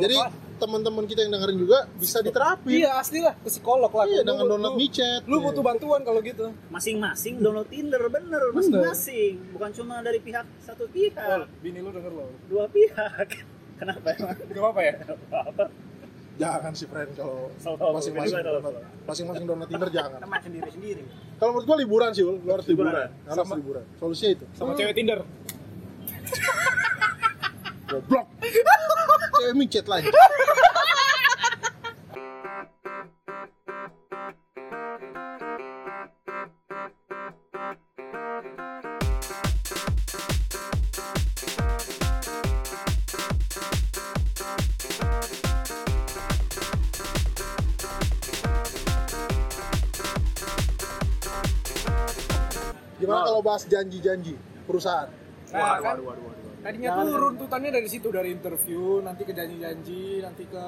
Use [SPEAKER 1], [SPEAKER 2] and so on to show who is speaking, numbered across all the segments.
[SPEAKER 1] Jadi teman-teman kita yang dengerin juga bisa diterapin.
[SPEAKER 2] Iya asli lah ke psikolog lah.
[SPEAKER 1] Iya,
[SPEAKER 2] Lu-
[SPEAKER 1] dengan Iya.
[SPEAKER 2] lu-
[SPEAKER 1] download
[SPEAKER 2] lu-
[SPEAKER 1] micet.
[SPEAKER 2] Lu butuh bantuan kalau gitu.
[SPEAKER 3] masing-masing download Tinder bener masing-masing bukan cuma dari pihak satu
[SPEAKER 2] Lol,
[SPEAKER 1] Iya.
[SPEAKER 3] pihak
[SPEAKER 2] bini lu denger lo.
[SPEAKER 3] dua pihak kenapa emang
[SPEAKER 2] Gak apa-apa ya?
[SPEAKER 3] apa
[SPEAKER 1] Jangan sih friend kalau
[SPEAKER 3] Selalu,
[SPEAKER 1] masing-masing
[SPEAKER 3] berdua
[SPEAKER 1] download,
[SPEAKER 3] selalu.
[SPEAKER 1] masing-masing download Tinder jangan.
[SPEAKER 4] teman sendiri sendiri
[SPEAKER 1] Kalau menurut gua liburan sih, Ul. lu harus liburan.
[SPEAKER 3] Liburan ya?
[SPEAKER 1] Harus
[SPEAKER 2] Sama-
[SPEAKER 1] liburan. Solusinya itu.
[SPEAKER 2] Sama cewek Tinder.
[SPEAKER 1] Goblok. Cewek micet lain. Gimana kalau bahas janji-janji perusahaan?
[SPEAKER 2] Nah, kan
[SPEAKER 4] waduh waduh waduh
[SPEAKER 2] tadinya tuh runtutannya dari situ dari interview, nanti ke janji-janji, nanti ke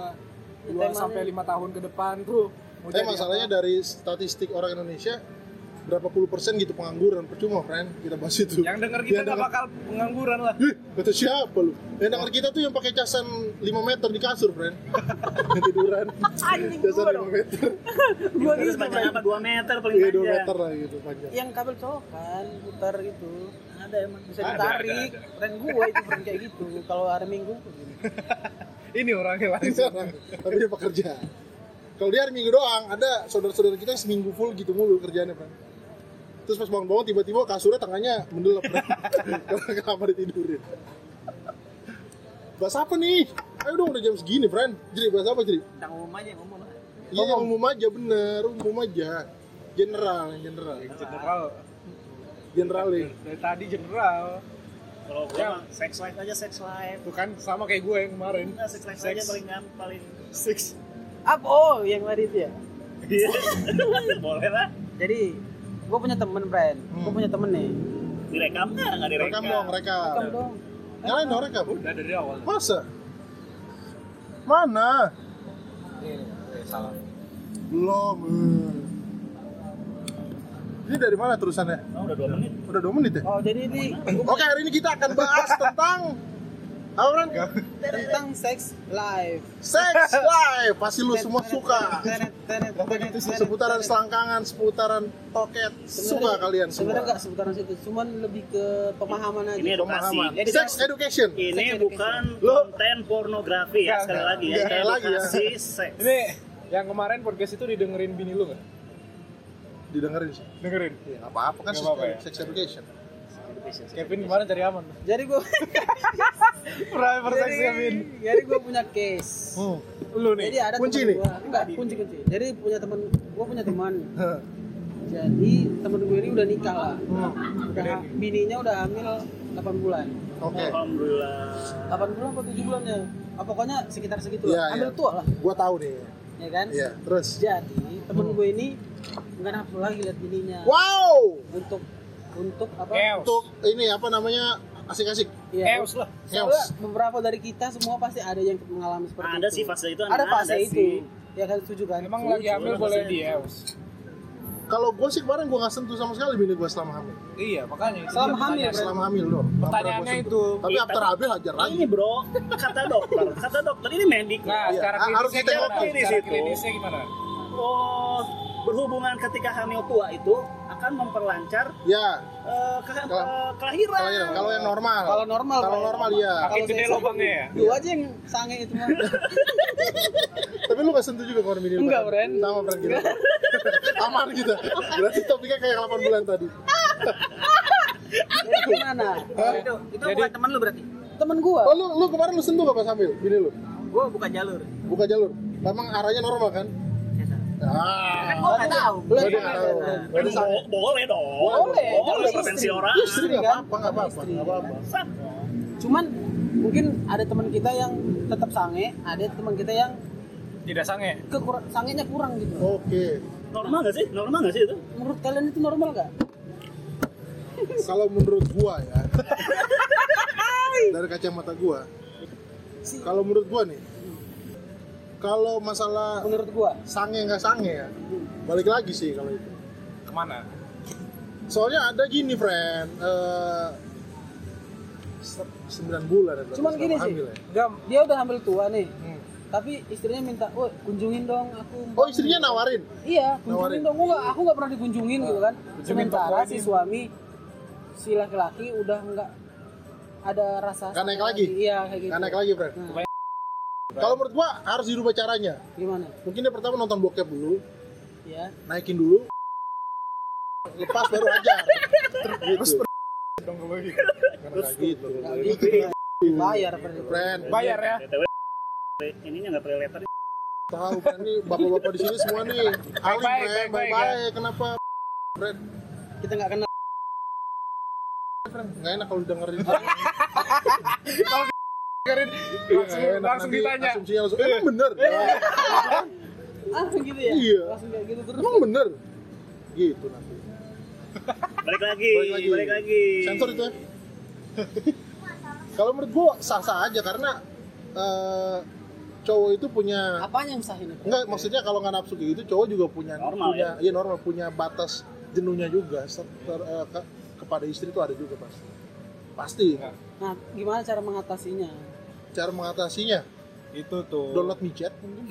[SPEAKER 2] 2 sampai 5 tahun ke depan tuh. mau
[SPEAKER 1] Tapi
[SPEAKER 2] jadi
[SPEAKER 1] masalahnya
[SPEAKER 2] apa.
[SPEAKER 1] dari statistik orang Indonesia berapa puluh persen gitu pengangguran percuma friend kita bahas itu
[SPEAKER 2] yang denger kita
[SPEAKER 1] Yang
[SPEAKER 2] nggak
[SPEAKER 1] denger-
[SPEAKER 2] bakal pengangguran lah.
[SPEAKER 1] Ih, kata siapa lu yang denger kita tuh yang pakai casan 5 meter di kasur friend yang tiduran
[SPEAKER 4] anjing
[SPEAKER 1] casan
[SPEAKER 4] gua
[SPEAKER 1] 5
[SPEAKER 4] dong
[SPEAKER 1] meter
[SPEAKER 4] gua
[SPEAKER 3] terus
[SPEAKER 4] gitu
[SPEAKER 3] panjang
[SPEAKER 4] Bray.
[SPEAKER 3] apa dua meter paling
[SPEAKER 1] iya 2
[SPEAKER 3] panjang
[SPEAKER 1] meter lah gitu panjang
[SPEAKER 4] yang kabel cokan putar gitu
[SPEAKER 3] ada emang
[SPEAKER 4] bisa
[SPEAKER 2] Ada,
[SPEAKER 4] ditarik
[SPEAKER 2] ada,
[SPEAKER 4] dan gua itu keren kayak gitu kalau hari minggu
[SPEAKER 2] Ini orangnya lah.
[SPEAKER 1] tapi dia pekerja kalau dia hari minggu doang ada saudara-saudara kita yang seminggu full gitu mulu kerjaannya friend terus pas bangun-bangun tiba-tiba kasurnya tangannya mendelep friend karena lama ditidurin bahas apa nih ayo dong udah jam segini friend jadi bahas apa jadi
[SPEAKER 4] tentang umum aja yang umum lah
[SPEAKER 1] Iya yang umum aja bener, umum aja. General, yang general.
[SPEAKER 2] General.
[SPEAKER 1] General ya.
[SPEAKER 2] Dari tadi general.
[SPEAKER 3] kalau gua
[SPEAKER 2] Ya.
[SPEAKER 3] mah sex life aja sex life
[SPEAKER 2] Tuh kan sama kayak gue yang kemarin.
[SPEAKER 3] Nah, sex life aja paling gampang paling
[SPEAKER 2] Six.
[SPEAKER 4] apa oh yang lari itu ya
[SPEAKER 3] Iya. boleh lah
[SPEAKER 4] jadi gua punya temen friend gua
[SPEAKER 1] Hmm.
[SPEAKER 4] punya temen nih
[SPEAKER 3] direkam nggak nggak direkam
[SPEAKER 1] Rekam dong, rekam.
[SPEAKER 4] kamu dong
[SPEAKER 1] Nyalain dong rekam.
[SPEAKER 2] Udah dari awal.
[SPEAKER 1] Masa? Mana?
[SPEAKER 2] salah.
[SPEAKER 1] Belum. eh. Ini dari mana terusannya?
[SPEAKER 3] Oh, udah dua menit
[SPEAKER 1] Udah 2 menit ya?
[SPEAKER 4] oh jadi ini
[SPEAKER 1] Oke, hari ini kita akan bahas tentang apa Ren?
[SPEAKER 4] tentang sex life
[SPEAKER 1] Sex life. Pasti lu semua suka. Apa gitu sih seputaran
[SPEAKER 4] selanjutnya
[SPEAKER 1] selangkangan, seputaran toket. Suka kalian
[SPEAKER 4] sebenarnya
[SPEAKER 1] semua.
[SPEAKER 4] nggak seputaran situ cuman lebih ke pemahaman aja
[SPEAKER 3] ini edukasi
[SPEAKER 1] Pemahaman.
[SPEAKER 4] Jadi
[SPEAKER 1] Sex
[SPEAKER 4] jangan-
[SPEAKER 1] education.
[SPEAKER 3] ini
[SPEAKER 4] Sex
[SPEAKER 3] bukan
[SPEAKER 1] Lu-
[SPEAKER 3] konten pornografi ya
[SPEAKER 2] Nggak,
[SPEAKER 3] sekali
[SPEAKER 2] nggak.
[SPEAKER 3] lagi ya
[SPEAKER 1] Nggak, sekali lagi ya.
[SPEAKER 3] edukasi seks
[SPEAKER 2] Ini yang kemarin podcast itu didengerin bini lu nggak?
[SPEAKER 1] Didengerin sih.
[SPEAKER 2] Dengerin.
[SPEAKER 1] Ya, nggak apa-apa kan
[SPEAKER 2] Nggak apa-apa ya.
[SPEAKER 1] sex education.
[SPEAKER 2] Kevin kemarin cari aman.
[SPEAKER 4] jadi gue
[SPEAKER 2] Pernah persepsi Kevin.
[SPEAKER 4] jadi gue punya case
[SPEAKER 1] Hmm.
[SPEAKER 2] Lu
[SPEAKER 4] jadi
[SPEAKER 2] nih.
[SPEAKER 4] ada
[SPEAKER 1] kunci
[SPEAKER 4] temen
[SPEAKER 1] nih?
[SPEAKER 4] gua- enggak kunci kunci jadi punya teman gue punya teman jadi teman gue ini udah nikah lah
[SPEAKER 1] Hmm.
[SPEAKER 4] udah, bininya udah hamil 8 bulan
[SPEAKER 1] Oke.
[SPEAKER 3] alhamdulillah
[SPEAKER 4] 8 bulan apa 7 bulan ya Ah, pokoknya sekitar segitu
[SPEAKER 1] Iya,
[SPEAKER 4] lah hamil
[SPEAKER 1] iya.
[SPEAKER 4] tua lah
[SPEAKER 1] Gua tahu nih.
[SPEAKER 4] ya kan
[SPEAKER 1] Iya, terus.
[SPEAKER 4] jadi temen gue ini nggak nafsu lagi lihat bininya
[SPEAKER 1] Wow.
[SPEAKER 4] untuk untuk apa
[SPEAKER 2] Keos.
[SPEAKER 1] Untuk ini apa namanya? Asik-asik.
[SPEAKER 4] ya
[SPEAKER 2] Keos lah.
[SPEAKER 4] soalnya
[SPEAKER 1] Keos.
[SPEAKER 4] beberapa dari kita semua pasti ada yang mengalami seperti
[SPEAKER 3] ada
[SPEAKER 4] itu
[SPEAKER 3] sih fase itu
[SPEAKER 4] ada fase itu
[SPEAKER 3] sih.
[SPEAKER 4] ya kan setuju kan
[SPEAKER 2] Emang lagi hamil
[SPEAKER 3] Setuju,
[SPEAKER 2] boleh
[SPEAKER 3] setuju.
[SPEAKER 2] di Eos.
[SPEAKER 1] Kalau gue sih kemarin gue nggak sentuh sama sekali bini gue selama hamil.
[SPEAKER 2] Iya, makanya. itu dia
[SPEAKER 4] Selama hamil,
[SPEAKER 2] pertanyaan.
[SPEAKER 1] Selama hamil loh.
[SPEAKER 2] Pertanyaannya itu.
[SPEAKER 1] Tapi after hamil hajar lagi.
[SPEAKER 3] ini bro kata dokter kata dokter ini medik
[SPEAKER 2] Nah,
[SPEAKER 1] Iya.
[SPEAKER 2] secara
[SPEAKER 1] Ah, harus
[SPEAKER 2] klinisnya
[SPEAKER 1] ditengok
[SPEAKER 2] gimana?
[SPEAKER 3] klinis
[SPEAKER 2] Secara
[SPEAKER 3] itu.
[SPEAKER 2] klinisnya gimana?
[SPEAKER 3] oh berhubungan ketika hamil tua itu akan memperlancar
[SPEAKER 1] Ya,
[SPEAKER 3] eh, ke-
[SPEAKER 1] Kalau-
[SPEAKER 3] eh, kelahiran.
[SPEAKER 1] kalau yang- kalau yang normal.
[SPEAKER 4] Kalau normal,
[SPEAKER 1] Kalau
[SPEAKER 4] Pak.
[SPEAKER 1] normal ya.
[SPEAKER 2] Makin
[SPEAKER 4] Kalau
[SPEAKER 2] gede
[SPEAKER 4] saya-
[SPEAKER 2] lubangnya ya?
[SPEAKER 4] Lu aja yang sange itu mah.
[SPEAKER 1] Tapi lu nggak sentuh juga kemarin bini lu.
[SPEAKER 4] Enggak,
[SPEAKER 1] kan?
[SPEAKER 4] Bren.
[SPEAKER 1] Sama Bren kita. Aman kita. Berarti topiknya kayak 8 bulan tadi.
[SPEAKER 4] Jadi gimana? itu itu
[SPEAKER 2] Jadi-
[SPEAKER 4] bukan teman lu berarti. Temen gua.
[SPEAKER 1] Oh lu, lu kemarin lu sentuh gak pas hamil bini lu?
[SPEAKER 4] Gua bukan jalur.
[SPEAKER 1] Buka jalur. Emang arahnya normal kan?
[SPEAKER 4] Kan
[SPEAKER 1] Ah.
[SPEAKER 4] gua enggak tahu.
[SPEAKER 1] Lu
[SPEAKER 4] Belum
[SPEAKER 1] dia nggak tahu. Berarti
[SPEAKER 3] Bo- boleh dong.
[SPEAKER 1] Boleh,
[SPEAKER 4] kan
[SPEAKER 3] Boleh
[SPEAKER 4] istri.
[SPEAKER 3] preferensi orang.
[SPEAKER 1] Istri nggak apa-apa, nggak apa-apa, nggak apa-apa.
[SPEAKER 3] Sah.
[SPEAKER 4] Cuman mungkin ada teman kita yang tetap sange, ada teman kita yang
[SPEAKER 2] Tidak sange.
[SPEAKER 4] kekurang sangenya kurang gitu.
[SPEAKER 1] Oke.
[SPEAKER 3] Normal gak sih? Normal gak sih itu?
[SPEAKER 4] Menurut kalian itu normal gak?
[SPEAKER 1] Kalau menurut gua ya. dari kacamata gua. Kalau menurut gua nih. Kalau masalah
[SPEAKER 4] Menurut gua.
[SPEAKER 1] sange nggak sange ya. Balik lagi sih kalau itu.
[SPEAKER 2] Kemana?
[SPEAKER 1] Soalnya ada gini, friend. Eh 9 bulan ya, berarti
[SPEAKER 4] Cuman gini
[SPEAKER 1] selama
[SPEAKER 4] sih.
[SPEAKER 1] hamil ya.
[SPEAKER 2] Gam,
[SPEAKER 4] Dia udah hamil tua nih.
[SPEAKER 1] Hmm.
[SPEAKER 4] tapi istrinya minta, "Woi, kunjungin dong aku."
[SPEAKER 1] Oh istrinya nawarin?
[SPEAKER 4] Iya, kunjungin
[SPEAKER 1] Nawarin.
[SPEAKER 4] dong. Gua nggak- aku nggak pernah dikunjungin gitu kan.
[SPEAKER 2] kunjungin
[SPEAKER 4] Sementara
[SPEAKER 2] bapak
[SPEAKER 4] si
[SPEAKER 2] ini.
[SPEAKER 4] suami si laki-laki udah nggak ada rasa
[SPEAKER 1] Nggak naik
[SPEAKER 4] sama
[SPEAKER 1] lagi?
[SPEAKER 4] Iya, kayak gitu.
[SPEAKER 1] Gak naik lagi Fred?
[SPEAKER 4] Nah,
[SPEAKER 1] Kalau menurut gua harus dirubah caranya
[SPEAKER 4] gimana?
[SPEAKER 1] Mungkin dia pertama nonton bokep dulu
[SPEAKER 4] Ya.
[SPEAKER 1] Naikin dulu Lepas baru ajar Terus
[SPEAKER 2] dong kalau gitu.
[SPEAKER 1] Terus gitu
[SPEAKER 4] Nggak gitu. Bayar per
[SPEAKER 1] Friend
[SPEAKER 2] Bayar ya.
[SPEAKER 3] BTW ininya nggak pakai letter
[SPEAKER 1] Tahu kan nih bapak-bapak di sini semua nih
[SPEAKER 2] Baik-baik,
[SPEAKER 1] alim baik
[SPEAKER 2] baik-baik,
[SPEAKER 1] baik baik kenapa Fred
[SPEAKER 4] Kita nggak kenal.
[SPEAKER 1] Fred nggak enak kalau dengerin
[SPEAKER 2] Dengerin langsung,
[SPEAKER 1] Nggak enak,
[SPEAKER 2] langsung
[SPEAKER 1] nanti
[SPEAKER 2] ditanya. Iya.
[SPEAKER 1] asumsinya langsung emang bener
[SPEAKER 4] Langsung gitu ya.
[SPEAKER 1] Iya.
[SPEAKER 4] Langsung kayak gitu terus.
[SPEAKER 1] emang bener gitu nanti
[SPEAKER 3] balik lagi
[SPEAKER 1] Balik lagi.
[SPEAKER 3] balik lagi
[SPEAKER 1] sensor itu ya kalau menurut gua sah-sah aja karena eh, cowok itu punya
[SPEAKER 4] Apanya yang sah ini?
[SPEAKER 1] enggak maksudnya kalau nggak nafsu kayak gitu cowok juga punya
[SPEAKER 3] Normal,
[SPEAKER 1] punya
[SPEAKER 2] ya.
[SPEAKER 1] iya normal punya batas jenuhnya juga Ser- ter- eh, ke- kepada istri itu ada juga pasti pasti
[SPEAKER 2] Iya.
[SPEAKER 4] Nah, gimana cara mengatasinya?
[SPEAKER 1] cara mengatasinya
[SPEAKER 2] Itu tuh.
[SPEAKER 1] download mijet mungkin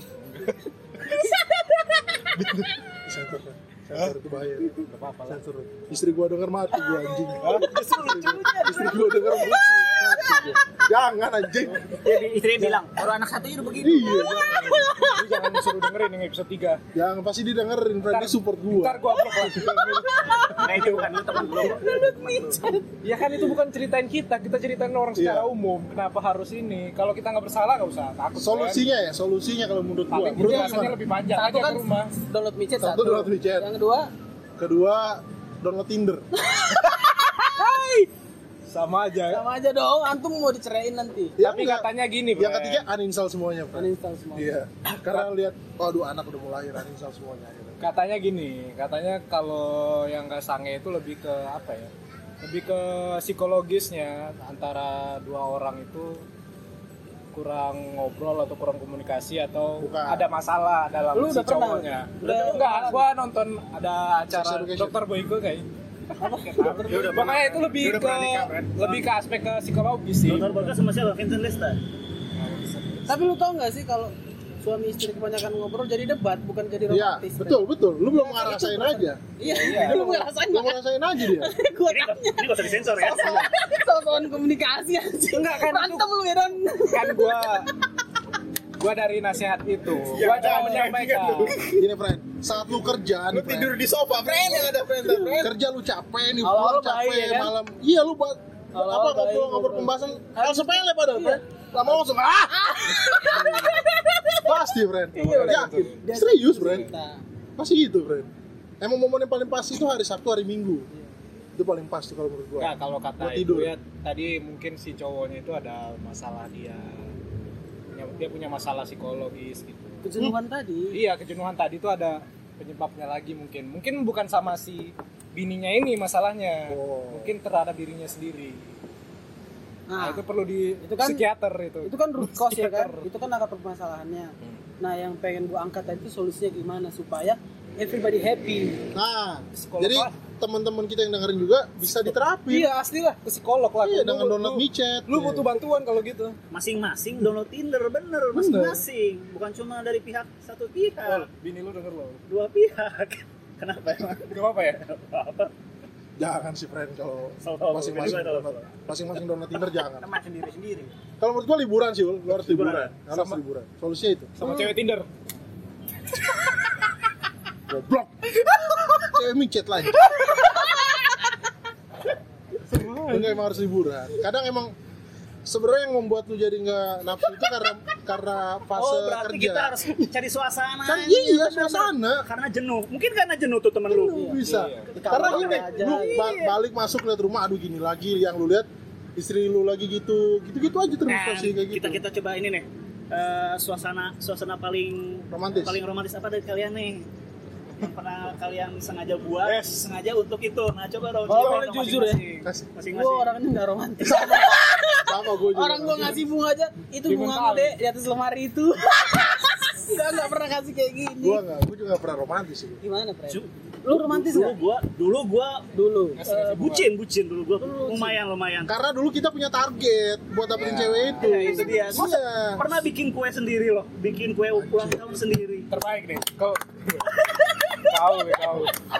[SPEAKER 1] sensor Pak. sensor itu bahaya
[SPEAKER 2] Nggak apa-apa lah.
[SPEAKER 1] sensor istri gua denger mati gua anjing
[SPEAKER 2] Hah? Justru lucu-lucu.
[SPEAKER 1] istri gua denger mati gua. jangan anjing
[SPEAKER 3] Jadi istrinya bilang
[SPEAKER 4] Baru anak satunya udah begini.
[SPEAKER 1] iya
[SPEAKER 2] Lu jangan suruh dengerin yang episode 3.
[SPEAKER 1] jangan pasti didengerin Fred dia support gua
[SPEAKER 2] Ntar gua upload lagi.
[SPEAKER 3] nah itu bukan lu teman lu
[SPEAKER 2] Ya kan itu bukan ceritain kita, kita ceritain orang secara
[SPEAKER 1] Iya.
[SPEAKER 2] umum. Kenapa harus ini? Kalau kita nggak bersalah nggak usah takut.
[SPEAKER 1] solusinya ya solusinya kalau menurut
[SPEAKER 2] Tapi
[SPEAKER 1] gua
[SPEAKER 2] itu
[SPEAKER 1] menurut lu
[SPEAKER 2] rasanya
[SPEAKER 1] gimana
[SPEAKER 2] lebih panjang.
[SPEAKER 4] Satu
[SPEAKER 2] Aja
[SPEAKER 4] kan
[SPEAKER 2] ke rumah.
[SPEAKER 4] download micet
[SPEAKER 1] Satu
[SPEAKER 4] satu.
[SPEAKER 1] download micet.
[SPEAKER 4] Yang kedua,
[SPEAKER 1] kedua download Tinder
[SPEAKER 2] Sama aja.
[SPEAKER 4] sama aja dong. Antum mau diceraiin nanti.
[SPEAKER 1] Ya,
[SPEAKER 2] Tapi
[SPEAKER 1] enggak.
[SPEAKER 2] katanya gini,
[SPEAKER 1] yang
[SPEAKER 2] Fred.
[SPEAKER 1] ketiga uninstall semuanya Fred
[SPEAKER 4] Uninstall semua.
[SPEAKER 1] iya karena lihat waduh anak udah mulai uninstall semuanya
[SPEAKER 2] Katanya gini, katanya kalau yang nggak sange itu lebih ke apa ya? Lebih ke psikologisnya antara dua orang itu kurang ngobrol atau kurang komunikasi atau
[SPEAKER 1] Bukan.
[SPEAKER 2] ada masalah dalam
[SPEAKER 4] Lu
[SPEAKER 2] si
[SPEAKER 4] udah pernah?
[SPEAKER 2] cowoknya.
[SPEAKER 4] Udah
[SPEAKER 2] enggak,
[SPEAKER 4] pernah?
[SPEAKER 2] gua nonton ada acara
[SPEAKER 1] Sex education.
[SPEAKER 2] Dokter Boyko kayak.
[SPEAKER 3] Dia udah
[SPEAKER 2] Makanya itu lebih
[SPEAKER 3] Dia udah
[SPEAKER 2] ke
[SPEAKER 3] pernah nikah, Fred.
[SPEAKER 2] lebih ke aspek ke psikologis sih.
[SPEAKER 3] Dokter Boga sama siapa? Vincent Lester.
[SPEAKER 4] Tapi lu tau gak sih kalau suami istri kebanyakan ngobrol jadi debat bukan jadi
[SPEAKER 1] iya
[SPEAKER 4] romantis. kan?
[SPEAKER 1] betul betul lu belum ngerasain aja
[SPEAKER 4] Iya,
[SPEAKER 2] Iya.
[SPEAKER 4] lu ngerasain
[SPEAKER 1] belum
[SPEAKER 4] banget.
[SPEAKER 1] ngerasain aja dia
[SPEAKER 4] Gua
[SPEAKER 3] Ini
[SPEAKER 4] tau.
[SPEAKER 3] ini gak usah disensor ya.
[SPEAKER 4] Sosokan komunikasi anjing.
[SPEAKER 2] Enggak, kan itu-
[SPEAKER 4] Berantem lu ya Don.
[SPEAKER 2] kan gua gua dari nasihat itu.
[SPEAKER 3] Iya,
[SPEAKER 2] Gua cuma menyampaikan.
[SPEAKER 1] Gini, friend. Saat lu kerja nih, friend.
[SPEAKER 5] di sofa, friend yang ada friend
[SPEAKER 1] Kerja lu capek nih,
[SPEAKER 4] Awal-awal
[SPEAKER 1] pulang capek
[SPEAKER 4] baik, ya kan?
[SPEAKER 1] malam. Iya, lu buat apa
[SPEAKER 4] Awal-awal baik,
[SPEAKER 1] ngobrol-ngobrol
[SPEAKER 4] ngobrol. Iya.
[SPEAKER 1] pembahasan hal sepele padahal, friend. Lama langsung ah. Pasti, friend.
[SPEAKER 4] Iya,
[SPEAKER 1] Yakin. Serius, friend.
[SPEAKER 4] Nah,
[SPEAKER 1] Pasti gitu, friend. Emang momen yang paling pas itu hari Sabtu, hari Minggu.
[SPEAKER 4] Iya.
[SPEAKER 1] Itu paling pas tuh kalau menurut
[SPEAKER 4] Ya,
[SPEAKER 1] gua.
[SPEAKER 2] Nah, kalau kata
[SPEAKER 1] Buat tidur.
[SPEAKER 2] itu ya tadi mungkin si cowoknya itu ada masalah dia punya, dia punya masalah psikologis gitu.
[SPEAKER 4] kejenuhan tadi.
[SPEAKER 2] Iya, kejenuhan tadi itu ada penyebabnya lagi mungkin. Mungkin bukan sama si bininya ini masalahnya.
[SPEAKER 1] Oh.
[SPEAKER 2] Mungkin terhadap dirinya sendiri. Nah,
[SPEAKER 4] Nah,
[SPEAKER 2] itu perlu di
[SPEAKER 4] itu kan-
[SPEAKER 2] psikiater itu.
[SPEAKER 4] itu kan root cause ya kan.
[SPEAKER 2] Psikiater.
[SPEAKER 4] Itu kan akar permasalahannya. Nah, yang pengen gua angkat tadi itu solusinya gimana supaya everybody happy.
[SPEAKER 1] Nah,
[SPEAKER 2] Psikolog
[SPEAKER 1] jadi
[SPEAKER 2] lah.
[SPEAKER 1] teman-teman kita yang dengerin juga bisa diterapin.
[SPEAKER 2] Iya, asli lah ke psikolog lah.
[SPEAKER 1] Iya,
[SPEAKER 2] Lu-
[SPEAKER 1] dengan
[SPEAKER 2] lu-
[SPEAKER 1] download
[SPEAKER 2] lu-
[SPEAKER 1] micet. iya.
[SPEAKER 2] Lu butuh bantuan kalau gitu.
[SPEAKER 3] Masing-masing download Tinder bener masing-masing. Bukan cuma dari pihak satu
[SPEAKER 2] Ol,
[SPEAKER 3] pihak,
[SPEAKER 2] bini lu denger lo.
[SPEAKER 3] dua pihak. Kenapa emang?
[SPEAKER 2] Gak apa-apa ya?
[SPEAKER 3] Apa?
[SPEAKER 1] jangan sih friend kalau
[SPEAKER 3] Tau, tau,
[SPEAKER 1] masing-masing
[SPEAKER 3] tau, tau.
[SPEAKER 1] download- masing-masing download Tinder jangan
[SPEAKER 3] Teman sendiri-sendiri.
[SPEAKER 1] kalau menurut gua liburan sih lu Lu harus liburan,
[SPEAKER 3] Liburan.
[SPEAKER 1] harus
[SPEAKER 2] Sama-
[SPEAKER 1] liburan solusinya itu
[SPEAKER 2] Sama cewek Tinder.
[SPEAKER 1] goblok cewek micet lagi Enggak emang harus liburan kadang emang sebenarnya yang membuat lu jadi nggak nafsu itu karena karena fase
[SPEAKER 3] oh, berarti
[SPEAKER 1] eh, kerja
[SPEAKER 3] kita harus gitu, cari suasana.
[SPEAKER 1] kan iya suasana
[SPEAKER 3] Karena jenuh. Mungkin karena jenuh tuh temen lu.
[SPEAKER 1] bisa
[SPEAKER 2] Iya.
[SPEAKER 1] karena
[SPEAKER 4] Kamar
[SPEAKER 1] gini
[SPEAKER 4] aja.
[SPEAKER 1] lu ba- balik masuk lihat rumah aduh gini lagi yang lu lihat istri lu lagi gitu gitu gitu aja terus
[SPEAKER 3] Nah,
[SPEAKER 1] pasti kayak gitu
[SPEAKER 3] kita kita coba ini nih. Eh, suasana suasana paling
[SPEAKER 1] Romantis.
[SPEAKER 3] paling romantis apa dari kalian nih yang pernah kalian sengaja buat
[SPEAKER 2] Yes.
[SPEAKER 3] sengaja untuk itu nah coba dong
[SPEAKER 4] Kalau
[SPEAKER 3] ceritain
[SPEAKER 4] boleh
[SPEAKER 3] dong
[SPEAKER 4] jujur ya.
[SPEAKER 3] masing-masing.
[SPEAKER 1] Kasih.
[SPEAKER 3] masing-masing
[SPEAKER 4] Gua orangnya nggak romantis.
[SPEAKER 1] sama gue juga
[SPEAKER 4] Orang gua ngasih bunga aja, itu bunga
[SPEAKER 2] Dimental.
[SPEAKER 4] gede di atas lemari itu. Enggak, enggak pernah kasih kayak gini.
[SPEAKER 1] gue nggak gue juga nggak pernah romantis sih
[SPEAKER 4] Gimana, Pre?
[SPEAKER 3] Ju-
[SPEAKER 4] Lu romantis
[SPEAKER 3] dulu
[SPEAKER 4] nggak?
[SPEAKER 3] gua dulu gua
[SPEAKER 4] dulu
[SPEAKER 3] eh, bucin bucin Kan. dulu gua lumayan lumayan
[SPEAKER 1] Karena dulu kita punya target buat dapetin cewek itu.
[SPEAKER 3] Iya, itu dia. Gua se-
[SPEAKER 1] Iya.
[SPEAKER 3] pernah bikin kue sendiri loh, bikin kue ulang tahun sendiri.
[SPEAKER 2] terbaik nih kau kau kau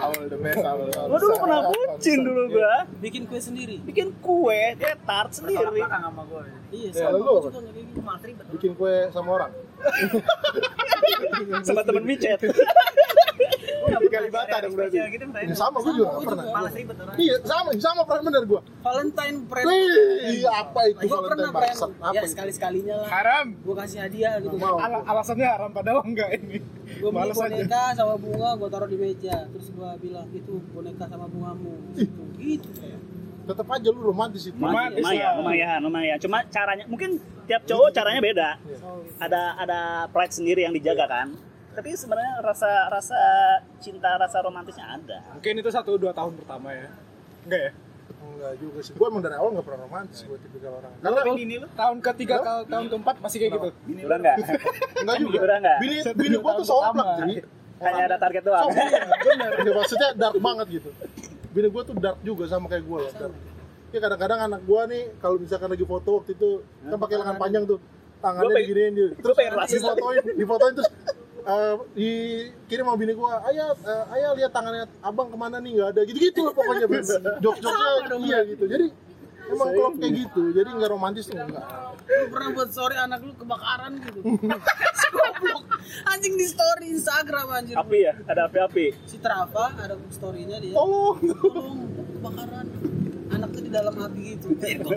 [SPEAKER 1] Awal the best, awal.
[SPEAKER 3] Gua dulu pernah bucin dulu gua,
[SPEAKER 4] bikin kue sendiri
[SPEAKER 3] bikin kue, ya tart sendiri.
[SPEAKER 5] sama gue
[SPEAKER 4] iya
[SPEAKER 1] Ya,
[SPEAKER 4] sama
[SPEAKER 1] lu
[SPEAKER 4] gua
[SPEAKER 1] apa?
[SPEAKER 4] juga nggak kayak gitu.
[SPEAKER 5] cuma ribet
[SPEAKER 1] Bikin kue sama orang.
[SPEAKER 3] Sama temen micet.
[SPEAKER 1] Di Kalibata dong berarti.
[SPEAKER 5] Spesial gitu, Fred.
[SPEAKER 1] Ya, sama gue juga nggak
[SPEAKER 4] Iya. gua
[SPEAKER 1] pernah.
[SPEAKER 4] juga.
[SPEAKER 5] malas ribet orang
[SPEAKER 1] Iya, sama, sama pernah bener gua.
[SPEAKER 4] Valentine friend
[SPEAKER 1] Wih, apa itu
[SPEAKER 4] gua pernah
[SPEAKER 1] Valentine
[SPEAKER 4] friend
[SPEAKER 1] bangsat? Apa
[SPEAKER 4] ya
[SPEAKER 1] itu?
[SPEAKER 4] sekali sekalinya lah
[SPEAKER 2] haram
[SPEAKER 4] gua kasih hadiah gitu
[SPEAKER 1] Mau.
[SPEAKER 2] Al- alasannya haram padahal enggak ini
[SPEAKER 4] gue beli
[SPEAKER 2] Males aja.
[SPEAKER 4] boneka sama bunga gue taruh di meja terus gue bilang itu boneka sama bungamu gitu gitu kayak
[SPEAKER 1] Tetap aja lu romantis itu.
[SPEAKER 2] Romantis. lah.
[SPEAKER 3] lumayan, lumayan, lumayan. Cuma caranya mungkin tiap cowok caranya beda.
[SPEAKER 4] Sorry.
[SPEAKER 3] Ada ada pride sendiri yang dijaga kan. Tapi sebenarnya rasa rasa cinta rasa romantisnya ada.
[SPEAKER 2] mungkin itu satu dua tahun pertama ya enggak ya
[SPEAKER 1] Enggak juga sih. Gua emang dari awal enggak pernah romantis gua tipikal orang. Karena
[SPEAKER 2] Tapi ini lu tahun ketiga tahun, tahun keempat masih kayak gitu
[SPEAKER 3] Udah enggak?
[SPEAKER 1] enggak juga.
[SPEAKER 3] Udah enggak?
[SPEAKER 1] Bini bini gua tuh somplak
[SPEAKER 2] Pertama.
[SPEAKER 1] jadi.
[SPEAKER 3] Hanya ada target doang.
[SPEAKER 1] Somplak bener. Ya, maksudnya dark banget gitu. Bini gua tuh dark juga sama kayak gua lah. dark. Ya kadang-kadang anak gua nih kalau misalkan lagi foto waktu itu kan pakai lengan panjang tuh tangannya
[SPEAKER 3] Gua pengen-
[SPEAKER 1] diginiin dia. Terus
[SPEAKER 3] gua pengen rasis.
[SPEAKER 1] difotoin, difotoin terus eh, dikirim sama bini gua, ayah, eh, ayah lihat tangannya abang kemana nih nggak ada gitu-gitu lah pokoknya beb.
[SPEAKER 4] Sama
[SPEAKER 1] jok-joknya
[SPEAKER 4] dong,
[SPEAKER 1] iya gitu. Jadi emang klop kayak gitu, jadi nggak romantis tuh enggak.
[SPEAKER 4] lu pernah buat sore anak lu kebakaran gitu Si goblok anjing di story Instagram anjir
[SPEAKER 3] Api ya, ada api-api.
[SPEAKER 4] si Trava ada storynya dia
[SPEAKER 1] Tolong.
[SPEAKER 4] tolong kebakaran anak tuh di dalam api gitu Eh, kok.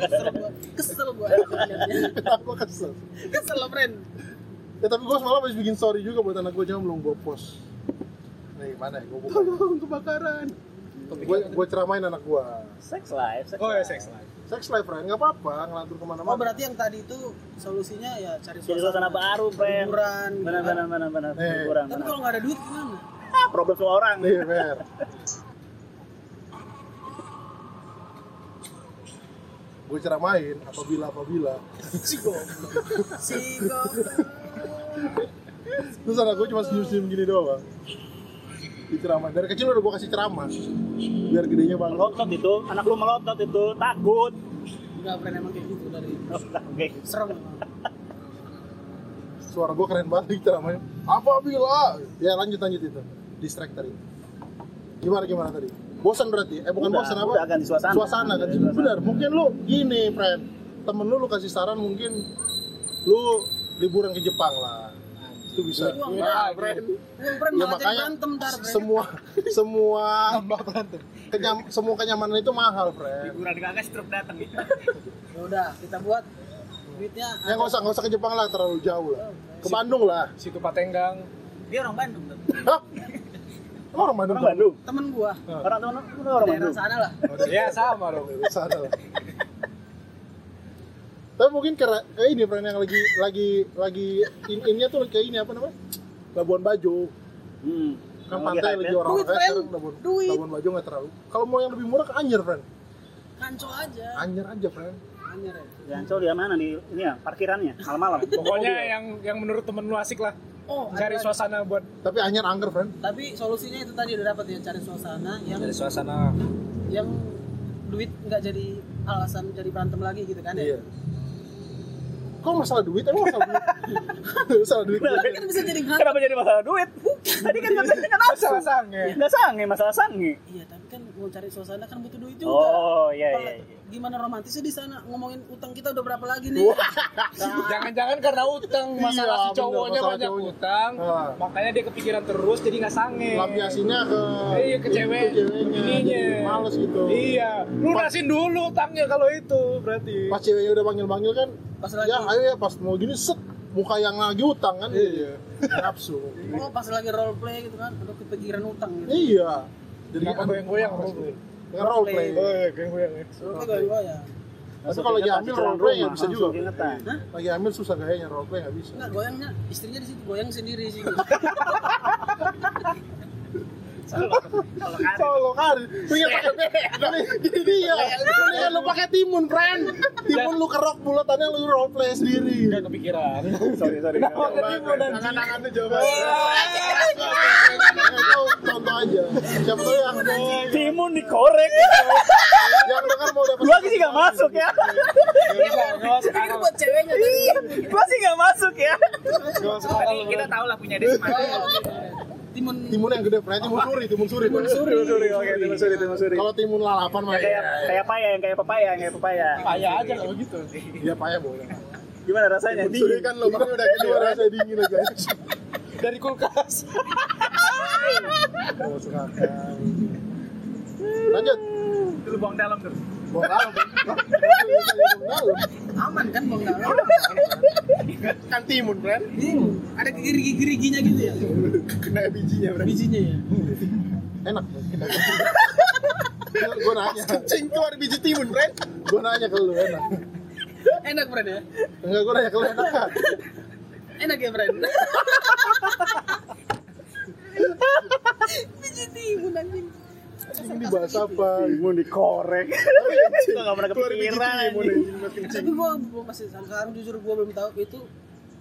[SPEAKER 4] kesel gue kesel gue
[SPEAKER 1] aku kesel
[SPEAKER 4] kesel friend
[SPEAKER 1] ya tapi gue semalam habis bikin story juga buat anak gue jangan belum gue post nih mana ya gue buka tolong kebakaran gue gue ceramain anak gue
[SPEAKER 3] Sex life, sex
[SPEAKER 2] oh ya
[SPEAKER 1] iya.
[SPEAKER 3] life.
[SPEAKER 2] seks lah
[SPEAKER 1] sex life friend nggak apa-apa ngelantur
[SPEAKER 4] oh
[SPEAKER 1] kemana-mana
[SPEAKER 4] berarti yang tadi itu solusinya ya cari
[SPEAKER 3] Jadi suasana baru, Pren.
[SPEAKER 4] liburan gitu
[SPEAKER 3] Benar,
[SPEAKER 4] kan.
[SPEAKER 3] benar, benar, benar.
[SPEAKER 1] Eh.
[SPEAKER 3] Kurang,
[SPEAKER 4] tapi
[SPEAKER 3] benar.
[SPEAKER 4] kalau nggak ada duit gimana
[SPEAKER 3] Ah, problem semua orang.
[SPEAKER 1] nih Fer gue ceramain apabila apabila
[SPEAKER 4] si goblok si goblok
[SPEAKER 1] terus anak gue cuma senyum-senyum gini doang diceramah dari kecil udah gue kasih ceramah biar gedenya bangga
[SPEAKER 3] Melotot itu, anak lu melotot itu, takut.
[SPEAKER 4] nggak pernah emang kayak gitu dari
[SPEAKER 3] Oke.
[SPEAKER 4] serem emang.
[SPEAKER 1] suara gue keren banget gitu ceramahnya apabila ya lanjut lanjut itu distract tadi gimana gimana tadi bosan berarti eh bukan
[SPEAKER 3] Udah,
[SPEAKER 1] bosan apa
[SPEAKER 3] udah, ganti suasana.
[SPEAKER 1] suasana kan
[SPEAKER 3] Ganti suasana.
[SPEAKER 1] benar mungkin lu gini friend temen lu lu kasih saran mungkin lu liburan ke Jepang lah itu bisa
[SPEAKER 4] Uang,
[SPEAKER 1] Nah,
[SPEAKER 2] Bray.
[SPEAKER 4] Uang friend
[SPEAKER 1] ya
[SPEAKER 4] malah jadi
[SPEAKER 1] makanya
[SPEAKER 4] berantem ntar friend.
[SPEAKER 1] semua semua
[SPEAKER 2] tambah berantem
[SPEAKER 1] kenyam- semua kenyamanan itu mahal friend
[SPEAKER 5] liburan kakak struk datang
[SPEAKER 3] gitu.
[SPEAKER 4] ya udah kita buat duitnya
[SPEAKER 1] ya nggak usah nggak usah ke Jepang lah terlalu jauh lah ke Bandung lah
[SPEAKER 2] situ patenggang
[SPEAKER 5] dia orang Bandung tuh
[SPEAKER 1] Hah? Emang orang Bandung
[SPEAKER 3] Orang Bandung.
[SPEAKER 4] temen gua
[SPEAKER 3] Orang teman lu orang
[SPEAKER 4] daerah
[SPEAKER 3] Bandung.
[SPEAKER 4] sana lah
[SPEAKER 2] ya sama dong
[SPEAKER 1] Dari sana lah. Tapi mungkin kayak kayak ini peran yang lagi lagi lagi in innya tuh kayak ini apa namanya? Labuan Bajo.
[SPEAKER 3] Hmm.
[SPEAKER 1] Kan
[SPEAKER 2] Oh,
[SPEAKER 3] Lagi
[SPEAKER 1] pantai
[SPEAKER 2] iya,
[SPEAKER 3] hype
[SPEAKER 1] lagi
[SPEAKER 3] ya.
[SPEAKER 1] orang
[SPEAKER 4] Duit,
[SPEAKER 1] orang
[SPEAKER 4] Fren.
[SPEAKER 1] sekarang Labuan,
[SPEAKER 4] Duit.
[SPEAKER 1] Labuan Bajo nggak terlalu. Kalau mau yang lebih murah ke Anyer, friend.
[SPEAKER 4] kanco aja
[SPEAKER 1] Anyer aja, friend.
[SPEAKER 4] anjir ya
[SPEAKER 3] Jancol dia mana nih? Ini ya, parkirannya malam-malam.
[SPEAKER 2] pokoknya yang yang menurut temen lu asik lah
[SPEAKER 4] oh
[SPEAKER 2] cari
[SPEAKER 4] ada-
[SPEAKER 2] suasana buat
[SPEAKER 1] Tapi Anyer angker, friend.
[SPEAKER 4] tapi solusinya itu tadi udah dapat ya cari suasana yang
[SPEAKER 2] cari suasana
[SPEAKER 4] yang duit nggak jadi alasan jadi berantem lagi gitu kan ya
[SPEAKER 1] Iya. Kok masalah duit? Emang masalah duit? masalah duit.
[SPEAKER 3] Kenapa?
[SPEAKER 4] kan bisa jadi berantem
[SPEAKER 3] Kenapa jadi masalah duit? Tadi kan katanya kan nafsu.
[SPEAKER 2] masalah sange
[SPEAKER 3] Enggak sange, masalah sange.
[SPEAKER 4] iya tapi kan mau cari suasana kan butuh duit juga
[SPEAKER 3] Oh, iya iya.
[SPEAKER 4] Kalau-
[SPEAKER 3] iya.
[SPEAKER 4] gimana romantisnya di sana ngomongin utang kita udah berapa lagi nih
[SPEAKER 2] jangan-jangan karena utang masalah
[SPEAKER 1] Iya,
[SPEAKER 2] si cowoknya
[SPEAKER 1] bener, masalah
[SPEAKER 2] banyak
[SPEAKER 1] cowoknya.
[SPEAKER 2] utang
[SPEAKER 1] Ah.
[SPEAKER 2] makanya dia kepikiran terus jadi nggak sange
[SPEAKER 1] Lampiasinya ke
[SPEAKER 2] Iya ke cewek,
[SPEAKER 1] ke ceweknya.
[SPEAKER 2] ininya.
[SPEAKER 1] Jadi Males gitu.
[SPEAKER 2] Iya, lunasin dulu utangnya kalau itu berarti.
[SPEAKER 1] Pas ceweknya udah manggil-manggil kan,
[SPEAKER 4] pas lagi
[SPEAKER 1] ya ayo ya pas mau gini set muka yang lagi utang kan. Iya. Nafsu.
[SPEAKER 4] oh pas lagi role play gitu kan udah kepikiran utang gitu
[SPEAKER 1] Iya. Jadi
[SPEAKER 2] Kenapa kan goyang-goyang role play?
[SPEAKER 1] Dengan role play.
[SPEAKER 2] Oh iya, goyang-goyang. ya.
[SPEAKER 4] Oke, gue gue ya
[SPEAKER 1] Tapi
[SPEAKER 3] Langsung
[SPEAKER 1] kalau lagi
[SPEAKER 3] keingetan,
[SPEAKER 1] hamil
[SPEAKER 3] pikiran
[SPEAKER 1] role play
[SPEAKER 3] rumah,
[SPEAKER 1] nggak bisa juga.
[SPEAKER 3] langsung keingetan.
[SPEAKER 4] Hah?
[SPEAKER 1] Lagi hamil susah gayanya role play nggak bisa.
[SPEAKER 3] Nah,
[SPEAKER 4] Enggak, goyangnya istrinya di situ goyang sendiri sih.
[SPEAKER 5] kalau kan
[SPEAKER 1] Solo
[SPEAKER 3] nah.
[SPEAKER 1] kan, punya pakai Jadi dia, mendingan lu pakai timun, friend.
[SPEAKER 3] Nah.
[SPEAKER 1] Timun lu kerok bulatannya lu role play sendiri.
[SPEAKER 2] Nggak kepikiran.
[SPEAKER 3] nah, Sorry, sorry.
[SPEAKER 1] Tangan-tangannya jauh banget. Nah, itu contoh aja. Siapa tahu yang
[SPEAKER 3] Timun dikorek.
[SPEAKER 1] yang dengar mau dapat.
[SPEAKER 3] Gua sih nggak masuk ya.
[SPEAKER 2] Gak usah, gak Iya, masuk
[SPEAKER 4] Pikir
[SPEAKER 2] akal.
[SPEAKER 4] buat ceweknya tadi.
[SPEAKER 3] Gua sih Iya, nggak masuk ya.
[SPEAKER 2] Gak masuk akal. Iya,
[SPEAKER 5] Tapi kita tahu lah punya dia semacam.
[SPEAKER 4] Timun
[SPEAKER 1] Timun yang gede, pernah timun suri, timun suri. Timun
[SPEAKER 3] Suri, oke, timun
[SPEAKER 4] Iya.
[SPEAKER 3] suri, timun suri.
[SPEAKER 1] Kalau timun lalapan mah
[SPEAKER 3] Kayak kayak paya, yang kayak pepaya, yang kayak pepaya.
[SPEAKER 2] Payah aja kalau gitu.
[SPEAKER 1] ya payah boleh.
[SPEAKER 3] Gimana rasanya?
[SPEAKER 1] Timun suri kan lubangnya udah gede, rasanya dingin aja. Oh,
[SPEAKER 2] Dari kulkas.
[SPEAKER 1] Nggak masuk akal. Lanjut.
[SPEAKER 5] Lu buang dalam tuh.
[SPEAKER 1] Buang dalam. Buang dalam.
[SPEAKER 4] aman kan bang Dara?
[SPEAKER 1] Kan timun, Bren.
[SPEAKER 4] Bingung. Ada gigi-giginya gitu ya.
[SPEAKER 1] Kena bijinya, Bren.
[SPEAKER 4] Bijinya ya.
[SPEAKER 1] enak gue nanya kencing keluar biji timun Bren gue nanya ke lu enak
[SPEAKER 4] Enak Bren ya.
[SPEAKER 1] enggak gue nanya ke lu enak kan
[SPEAKER 4] Enak ya Bren. Biji timun anjing.
[SPEAKER 1] ini dibahas apa
[SPEAKER 3] Timun dikorek. Gua nggak pernah
[SPEAKER 1] keluar biji
[SPEAKER 3] kepikiran.
[SPEAKER 1] timun
[SPEAKER 3] anjing.
[SPEAKER 1] anjing, mas kencing
[SPEAKER 4] Tapi gua, gua masih sekarang jujur gua belum tahu itu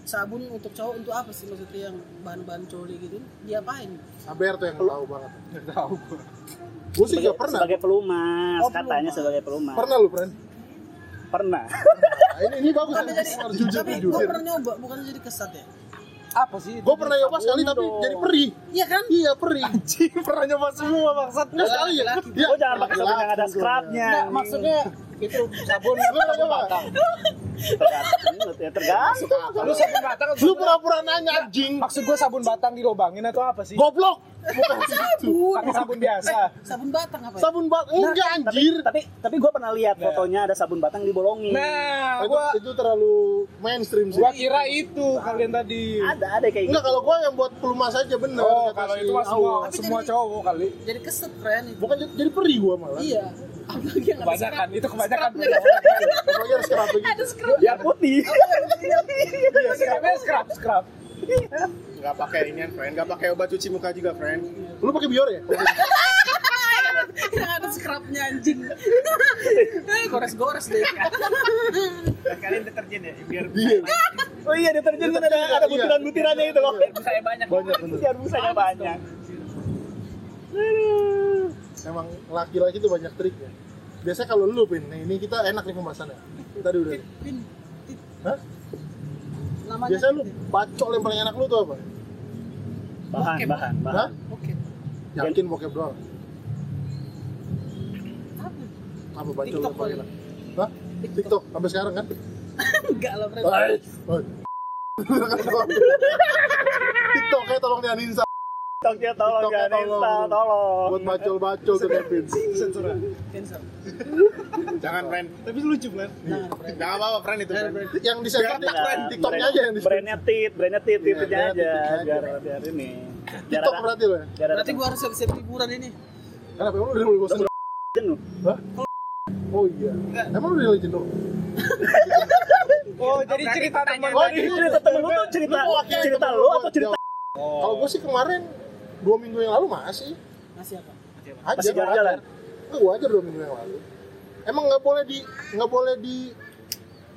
[SPEAKER 4] sabun untuk cowok untuk apa sih maksudnya yang bahan-bahan coli gitu diapain?
[SPEAKER 1] Saber tuh yang tahu banget tahu gue sih gak pernah
[SPEAKER 3] Sebagai pelumas,
[SPEAKER 4] Oh,
[SPEAKER 3] katanya
[SPEAKER 4] pelumas.
[SPEAKER 3] sebagai pelumas.
[SPEAKER 1] pernah lu Bren
[SPEAKER 3] Pernah.
[SPEAKER 1] Nah, ini ini bagus
[SPEAKER 4] Tapi jadi,
[SPEAKER 1] harus jujur
[SPEAKER 4] tapi gua
[SPEAKER 1] jujur
[SPEAKER 4] pernah nyoba bukan jadi kesat ya.
[SPEAKER 2] Apa sih?
[SPEAKER 1] gue pernah nyoba sekali tapi jadi perih
[SPEAKER 4] Iya kan?
[SPEAKER 1] iya perih
[SPEAKER 2] pernah nyoba semua maksud.
[SPEAKER 1] enggak sekali ya Iya.
[SPEAKER 3] Gua Oh, jangan pakai sabun yang ada scrubnya.
[SPEAKER 2] Enggak, maksudnya itu sabun
[SPEAKER 1] Lu pernah
[SPEAKER 2] sabun
[SPEAKER 1] nyoba?
[SPEAKER 2] batang.
[SPEAKER 3] Tergantung, ya, tergantung.
[SPEAKER 2] Lu sabun batang
[SPEAKER 1] lu pura-pura nanya anjing
[SPEAKER 2] maksud gua sabun batang dilobangin atau apa sih?
[SPEAKER 1] goblok bukan gitu
[SPEAKER 2] Pakai sabun biasa.
[SPEAKER 4] Sabun batang apa ya?
[SPEAKER 1] sabun bak enggak anjir
[SPEAKER 3] Tapi tapi gua pernah lihat fotonya ada sabun batang dibolongin.
[SPEAKER 2] Nah,
[SPEAKER 1] Itu-
[SPEAKER 2] gua
[SPEAKER 1] itu terlalu mainstream sih
[SPEAKER 2] gua kira itu kalian tadi.
[SPEAKER 3] Ada ada kayak gitu.
[SPEAKER 1] Enggak, kalau gua yang buat pelumas aja bener.
[SPEAKER 2] Oh,
[SPEAKER 1] Kasih
[SPEAKER 2] kalau itu mah
[SPEAKER 1] awal.
[SPEAKER 2] semua
[SPEAKER 4] Tapi
[SPEAKER 2] semua
[SPEAKER 4] jadi-
[SPEAKER 2] cowok kali.
[SPEAKER 4] Jadi keset Bren itu.
[SPEAKER 1] Bukan jadi, jadi perih gua malah.
[SPEAKER 4] Iya. Apalagi yang ada
[SPEAKER 2] Kebanyakan,
[SPEAKER 4] scrub.
[SPEAKER 2] itu kebanyakan.
[SPEAKER 4] Scrubnya kan?
[SPEAKER 1] Apalagi harus kerap begitu.
[SPEAKER 4] Ada scrub.
[SPEAKER 5] Ya
[SPEAKER 3] Yang putih.
[SPEAKER 2] Iya, scrub, scrub, scrub.
[SPEAKER 6] Gak pakai inian, friend. Gak pakai obat cuci muka juga, friend.
[SPEAKER 1] Lu pakai biore ya?
[SPEAKER 4] yang ada scrubnya anjing.
[SPEAKER 1] Iya,
[SPEAKER 4] Eh, Gores-gores deh.
[SPEAKER 5] Kalian deterjen ya biar
[SPEAKER 1] Iya.
[SPEAKER 3] Oh iya deterjen kan ada ada butiran-butirannya itu loh.
[SPEAKER 5] saya banyak.
[SPEAKER 1] Banyak bener.
[SPEAKER 3] Siar busanya banyak.
[SPEAKER 1] Emang laki-laki tuh banyak triknya. Biasanya kalau lu pin, nah ini kita enak nih pembahasannya. Tadi udah.
[SPEAKER 4] Pin, tit,
[SPEAKER 1] Hah?
[SPEAKER 4] namanya.
[SPEAKER 1] Biasanya lu bacok yang paling enak lu tuh apa?
[SPEAKER 3] Bahan, bahan,
[SPEAKER 1] Hah?
[SPEAKER 3] bahan.
[SPEAKER 4] Oke.
[SPEAKER 1] Yakin bokep doang.
[SPEAKER 4] Apa?
[SPEAKER 1] Apa bacok lu
[SPEAKER 4] TikTok
[SPEAKER 1] yang paling
[SPEAKER 4] kali.
[SPEAKER 1] enak? Hah? TikTok sampai sekarang kan?
[SPEAKER 4] Enggak lah Bren.
[SPEAKER 1] Hai. Oh. TikToknya tolong dianinsa
[SPEAKER 3] TikToknya tolong
[SPEAKER 1] TikToknya
[SPEAKER 3] jangan install,
[SPEAKER 1] tolong.
[SPEAKER 3] tolong.
[SPEAKER 1] buat bacol-bacol tuh Kevin.
[SPEAKER 4] Cancel.
[SPEAKER 6] Jangan, friend.
[SPEAKER 2] Tapi lucu banget.
[SPEAKER 4] Nah, Bren.
[SPEAKER 6] Jangan apa-apa, friend itu. friend.
[SPEAKER 1] Yang di sensor
[SPEAKER 6] Biar-
[SPEAKER 1] TikTok, TikToknya aja yang di
[SPEAKER 3] Nah, Brandnya tit, brandnya tit, titnya
[SPEAKER 1] brandnya
[SPEAKER 3] aja.
[SPEAKER 1] titnya
[SPEAKER 3] Biar
[SPEAKER 1] aja.
[SPEAKER 3] biar ini. Biar
[SPEAKER 1] TikTok
[SPEAKER 3] ada-
[SPEAKER 1] berarti lo ya?
[SPEAKER 3] biar ada-
[SPEAKER 4] Berarti gua harus siap-siap liburan ini.
[SPEAKER 1] Kenapa emang lu udah mulai bosan?
[SPEAKER 3] Jenuh.
[SPEAKER 1] Hah? Oh iya. Emang lu udah mulai jenuh?
[SPEAKER 2] Oh, jadi cerita teman
[SPEAKER 3] Oh,
[SPEAKER 2] tadi.
[SPEAKER 3] ini cerita temen lu tuh cerita
[SPEAKER 1] Lu mewakili
[SPEAKER 3] cerita
[SPEAKER 1] temen
[SPEAKER 3] lu
[SPEAKER 1] gua,
[SPEAKER 3] atau cerita
[SPEAKER 1] jawab. Kalau gua sih kemarin dua minggu yang lalu masih
[SPEAKER 4] Masih apa?
[SPEAKER 1] aja
[SPEAKER 3] Masih jalan-jalan?
[SPEAKER 1] Enggak gua aja dua minggu yang lalu. Emang nggak boleh di nggak boleh di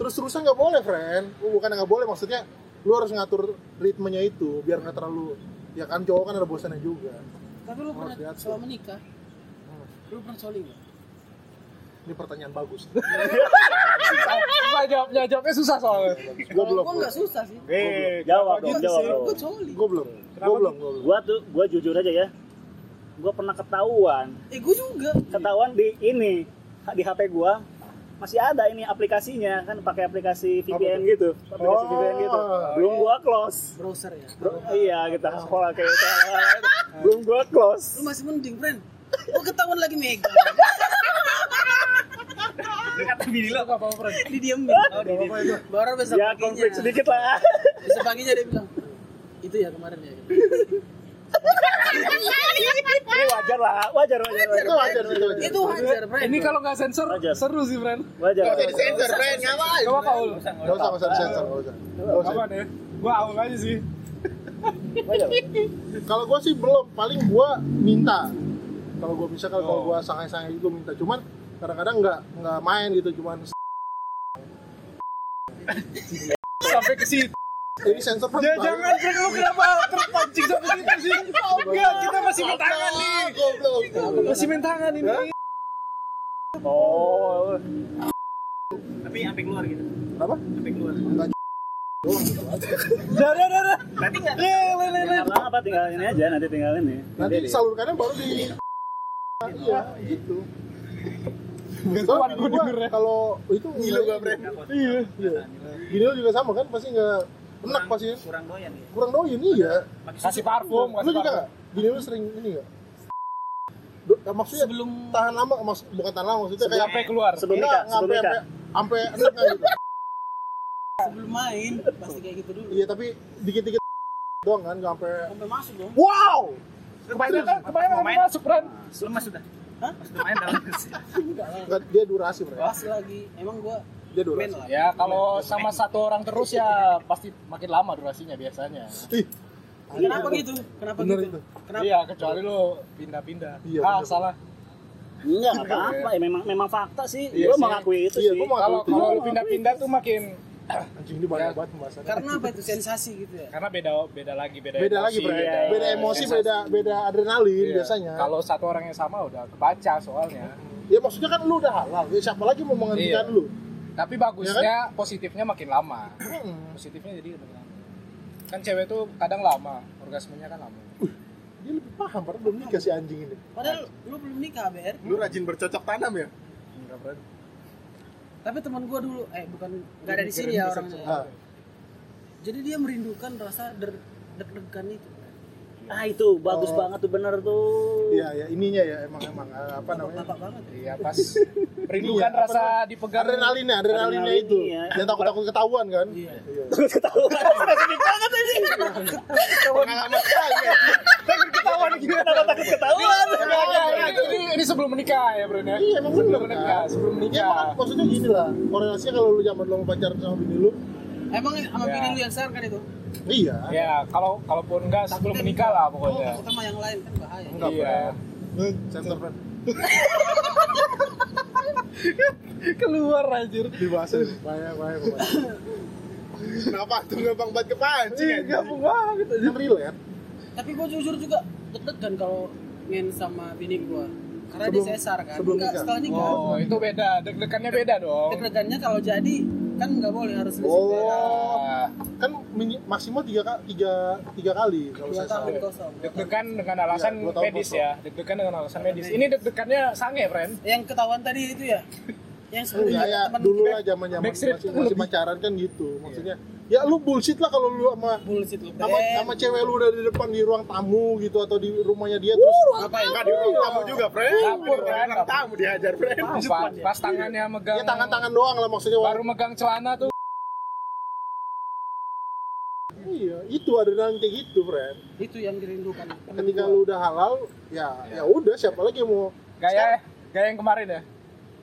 [SPEAKER 1] terus-terusan nggak boleh, friend. Lu Bukan nggak boleh maksudnya lu harus ngatur ritmenya itu biar nggak terlalu ya kan cowok kan ada bosannya juga.
[SPEAKER 4] Tapi lu pernah
[SPEAKER 1] diatur.
[SPEAKER 4] selama nikah? Lu pernah coli nggak?
[SPEAKER 1] Ini pertanyaan bagus.
[SPEAKER 2] Susah jawabnya, jawabnya susah soalnya.
[SPEAKER 1] Gua
[SPEAKER 4] Kalau
[SPEAKER 1] belum.
[SPEAKER 4] gua nggak susah sih.
[SPEAKER 2] Eh,
[SPEAKER 3] jawab dong,
[SPEAKER 4] Gua-
[SPEAKER 3] jawab
[SPEAKER 4] gua-
[SPEAKER 3] dong.
[SPEAKER 4] Gua coli.
[SPEAKER 1] Gua belum. Gua belum. Gua belum.
[SPEAKER 3] Gua tuh gua jujur aja ya. Gua pernah ketahuan,
[SPEAKER 4] Eh gua juga.
[SPEAKER 3] ketahuan di ini di HP gua masih ada ini aplikasinya kan pakai aplikasi VPN gitu, aplikasi
[SPEAKER 1] Oh.
[SPEAKER 3] VPN gitu. Belum gua close.
[SPEAKER 4] Browser ya.
[SPEAKER 3] Bro, iya kita sekolah kayak gitu. Belum gua close.
[SPEAKER 4] Lu masih mending, Bren. Gua ketahuan lagi megang.
[SPEAKER 5] Lu kata bini lo.
[SPEAKER 2] Apa apa
[SPEAKER 4] Didiemin. Oh, didiemin. Baru besok
[SPEAKER 3] Ya konflik
[SPEAKER 4] paginya.
[SPEAKER 3] sedikit lah.
[SPEAKER 4] Besok paginya dia bilang, itu ya kemarin ya.
[SPEAKER 3] Ini wajar lah, wajar wajar wajar.
[SPEAKER 1] Itu wajar itu wajar.
[SPEAKER 4] itu hajar, Bren.
[SPEAKER 2] Ini kalau nggak sensor
[SPEAKER 3] Wajar.
[SPEAKER 2] seru sih, Bren.
[SPEAKER 3] Wajar.
[SPEAKER 6] Gak usah
[SPEAKER 3] wajar.
[SPEAKER 6] disensor, friend. Ngapain?
[SPEAKER 2] Coba kau.
[SPEAKER 1] Gak usah, gak usah, gak usah, gak usah. Gak usah.
[SPEAKER 2] Kapan ya? Gua awal aja sih.
[SPEAKER 3] Wajar.
[SPEAKER 1] Kalau gua sih belum, paling gua minta. Kalau gua bisa kalau kalau gua sangai-sangai itu minta. Cuman kadang-kadang nggak nggak main gitu, cuman
[SPEAKER 2] Sampai ke situ.
[SPEAKER 1] Ini sensor kan.
[SPEAKER 2] Ya jangan Frank lu kenapa terpancing sampai situ sih? Enggak, kita masih main tangan nih.
[SPEAKER 1] Goblok.
[SPEAKER 2] Masih main tangan ini.
[SPEAKER 5] Oh. Tapi sampai keluar gitu.
[SPEAKER 1] Apa?
[SPEAKER 5] Sampai keluar.
[SPEAKER 2] Dah dah dah, Iya, dah.
[SPEAKER 5] Berarti enggak
[SPEAKER 2] Le le le le.
[SPEAKER 3] Apa apa tinggal ini aja nanti tinggal ini.
[SPEAKER 1] Nanti disalurkannya baru di Iya, gitu. Soalnya bini gua kalau itu
[SPEAKER 6] Ngilu gua, Bre.
[SPEAKER 1] Iya, iya. Gini lo juga sama kan, pasti nggak enak pasti ya.
[SPEAKER 5] kurang doyan ya.
[SPEAKER 1] Kurang doyan iya.
[SPEAKER 2] Kasih parfum,
[SPEAKER 1] Lu
[SPEAKER 2] kasih
[SPEAKER 1] juga
[SPEAKER 2] parfum.
[SPEAKER 1] nggak? Gini lo sering ini nggak? Do- Maksudnya
[SPEAKER 4] Sebelum
[SPEAKER 1] tahan lama, maksud, bukan tahan lama maksudnya kayak
[SPEAKER 2] Sampai keluar.
[SPEAKER 3] Sebelum
[SPEAKER 1] Enggak,
[SPEAKER 3] nikah, sebelum
[SPEAKER 1] sampai-
[SPEAKER 3] nikah.
[SPEAKER 1] sampai sampai enak nggak gitu.
[SPEAKER 4] sebelum main pasti kayak gitu dulu.
[SPEAKER 1] Iya, tapi dikit-dikit doang kan, nggak sampai
[SPEAKER 4] Sampai masuk dong.
[SPEAKER 1] Wow!
[SPEAKER 5] Kebayang kan?
[SPEAKER 2] Kemarin
[SPEAKER 5] Mau
[SPEAKER 2] aku
[SPEAKER 5] main.
[SPEAKER 2] masuk Fran.
[SPEAKER 5] Lemas sudah.
[SPEAKER 4] Hah?
[SPEAKER 5] Pas udah main dalam terus.
[SPEAKER 4] Enggak lah.
[SPEAKER 1] Nggak, dia durasi, Bre.
[SPEAKER 4] Pas lagi emang gua
[SPEAKER 1] Dia
[SPEAKER 4] main
[SPEAKER 1] durasi.
[SPEAKER 4] lah.
[SPEAKER 2] Ya kalau sama satu orang terus ya pasti makin lama durasinya biasanya.
[SPEAKER 1] Ih,
[SPEAKER 4] Kenapa gitu? Kenapa
[SPEAKER 1] Iya, Bener
[SPEAKER 4] gitu?
[SPEAKER 1] itu.
[SPEAKER 4] Kenapa?
[SPEAKER 2] Iya kecuali lu pindah-pindah.
[SPEAKER 1] Iya,
[SPEAKER 2] ah
[SPEAKER 1] bener.
[SPEAKER 2] salah.
[SPEAKER 3] Enggak nggak apa-apa ya memang memang fakta sih.
[SPEAKER 2] Iya
[SPEAKER 3] Gua
[SPEAKER 2] sih.
[SPEAKER 3] mengakui itu
[SPEAKER 1] Iya,
[SPEAKER 3] sih.
[SPEAKER 1] gua mau-
[SPEAKER 2] Kalau kalau lu
[SPEAKER 3] Iya.
[SPEAKER 2] pindah-pindah tuh makin
[SPEAKER 1] anjing ini banyak banget pembahasannya.
[SPEAKER 4] Karena apa itu sensasi gitu ya?
[SPEAKER 2] karena beda beda lagi beda
[SPEAKER 1] beda
[SPEAKER 2] emosi,
[SPEAKER 1] lagi bro
[SPEAKER 3] iya,
[SPEAKER 1] beda emosi
[SPEAKER 2] sensasi.
[SPEAKER 1] beda beda adrenalin
[SPEAKER 2] Iya.
[SPEAKER 1] biasanya
[SPEAKER 2] kalau satu orang yang sama udah kebaca soalnya
[SPEAKER 1] ya maksudnya kan lu udah halal ya siapa lagi mau menghentikan
[SPEAKER 2] Iya.
[SPEAKER 1] lu
[SPEAKER 2] tapi bagusnya positifnya makin lama positifnya jadi makin lama kan cewek tuh kadang lama orgasmenya kan lama
[SPEAKER 1] dia lebih paham padahal belum nikah si anjing ini
[SPEAKER 4] Padahal lu belum nikah, BR.
[SPEAKER 6] Lu rajin bercocok tanam ya?
[SPEAKER 2] Enggak, Bro.
[SPEAKER 4] Tapi teman gua dulu eh bukan enggak ada di sini ya orangnya.
[SPEAKER 1] Ah,
[SPEAKER 4] Jadi dia merindukan rasa der- deg-degan itu.
[SPEAKER 3] Ah itu bagus banget tuh bener tuh.
[SPEAKER 1] iya ya ininya ya emang emang ah, apa namanya
[SPEAKER 4] Bapak banget.
[SPEAKER 2] iya pas merindukan
[SPEAKER 1] Iya,
[SPEAKER 2] rasa dipegang Iya,
[SPEAKER 1] adrenalinnya adrenalinnya
[SPEAKER 3] Adrenalin,
[SPEAKER 1] itu
[SPEAKER 3] iya.
[SPEAKER 1] yang takut takut ketahuan kan iya
[SPEAKER 3] Ketahuan spesifik banget ini.
[SPEAKER 6] Pengalaman sekali ya.
[SPEAKER 2] ketahuan gitu
[SPEAKER 3] Kenapa takut ketahuan?
[SPEAKER 2] Enggak, enggak, enggak. iya, gitu. ini, ini sebelum menikah ya bro ya
[SPEAKER 1] Iya, emang
[SPEAKER 2] sebelum
[SPEAKER 1] bener,
[SPEAKER 2] menikah
[SPEAKER 1] kan?
[SPEAKER 2] sebelum
[SPEAKER 1] ya
[SPEAKER 2] menikah
[SPEAKER 1] emang maksudnya gini lah korelasinya kalau lu zaman lu pacaran sama bini lu
[SPEAKER 4] Emang sama
[SPEAKER 2] Ya.
[SPEAKER 4] bini lu yang sekarang kan itu?
[SPEAKER 1] iya
[SPEAKER 2] ya kalau kalaupun enggak sebelum menikah lah pokoknya
[SPEAKER 4] Oh, sama yang lain kan bahaya.
[SPEAKER 1] enggak
[SPEAKER 2] Iya.
[SPEAKER 1] pernah sensor Fred.
[SPEAKER 2] keluar anjir
[SPEAKER 1] dibahas ini. banyak banyak banyak.
[SPEAKER 6] Kenapa tuh gampang banget kepancing
[SPEAKER 1] Iya,
[SPEAKER 6] anjing?
[SPEAKER 2] banget
[SPEAKER 1] kan relate
[SPEAKER 4] Tapi gua jujur juga deg-degan kalau main sama bini gua. Karena
[SPEAKER 1] Sebelum-
[SPEAKER 4] dia sesar kan.
[SPEAKER 1] sebelum
[SPEAKER 4] Enggak,
[SPEAKER 1] nikah.
[SPEAKER 4] setelah nikah.
[SPEAKER 2] Oh, itu beda. Deg-degannya beda dong.
[SPEAKER 4] Deg-degannya kalau jadi kan nggak boleh harus
[SPEAKER 1] Oh.
[SPEAKER 2] Nah,
[SPEAKER 1] kan mini- maksimal tiga ka- tiga tiga kali kalau
[SPEAKER 4] Dua
[SPEAKER 1] saya salah
[SPEAKER 4] tahun kosong.
[SPEAKER 2] deg-degan dengan alasan
[SPEAKER 1] Iya, gua tahu
[SPEAKER 2] medis
[SPEAKER 1] kosong.
[SPEAKER 2] ya. Deg-degan dengan alasan medis. Ini deg-degannya sange, friend.
[SPEAKER 4] Yang ketahuan tadi itu ya. Yang sebelumnya
[SPEAKER 1] Enggak ya,
[SPEAKER 4] teman
[SPEAKER 1] dulu lah zaman zaman masih,
[SPEAKER 2] Backstreet tuh
[SPEAKER 1] masih
[SPEAKER 2] lebih-
[SPEAKER 1] pacaran kan gitu. Maksudnya ya lu bullshit lah kalau lu sama
[SPEAKER 4] bullshit lu.
[SPEAKER 1] sama,
[SPEAKER 4] Ben.
[SPEAKER 1] sama cewek lu udah di depan di ruang tamu gitu atau di rumahnya dia terus ya?
[SPEAKER 4] Ngapain?
[SPEAKER 6] Enggak di ruang tamu juga, Fren.
[SPEAKER 2] Dapur,
[SPEAKER 6] Di
[SPEAKER 2] Fren.
[SPEAKER 6] ruang tamu dihajar, Fren.
[SPEAKER 2] Pas, pas tangannya megang
[SPEAKER 1] ya tangan-tangan doang lah maksudnya
[SPEAKER 2] baru megang celana tuh.
[SPEAKER 1] iya itu adrenalin kayak gitu friend
[SPEAKER 4] Itu yang dirindukan.
[SPEAKER 1] ketika lu udah halal ya ya udah siapa lagi yang mau
[SPEAKER 2] Gaya gaya yang kemarin ya.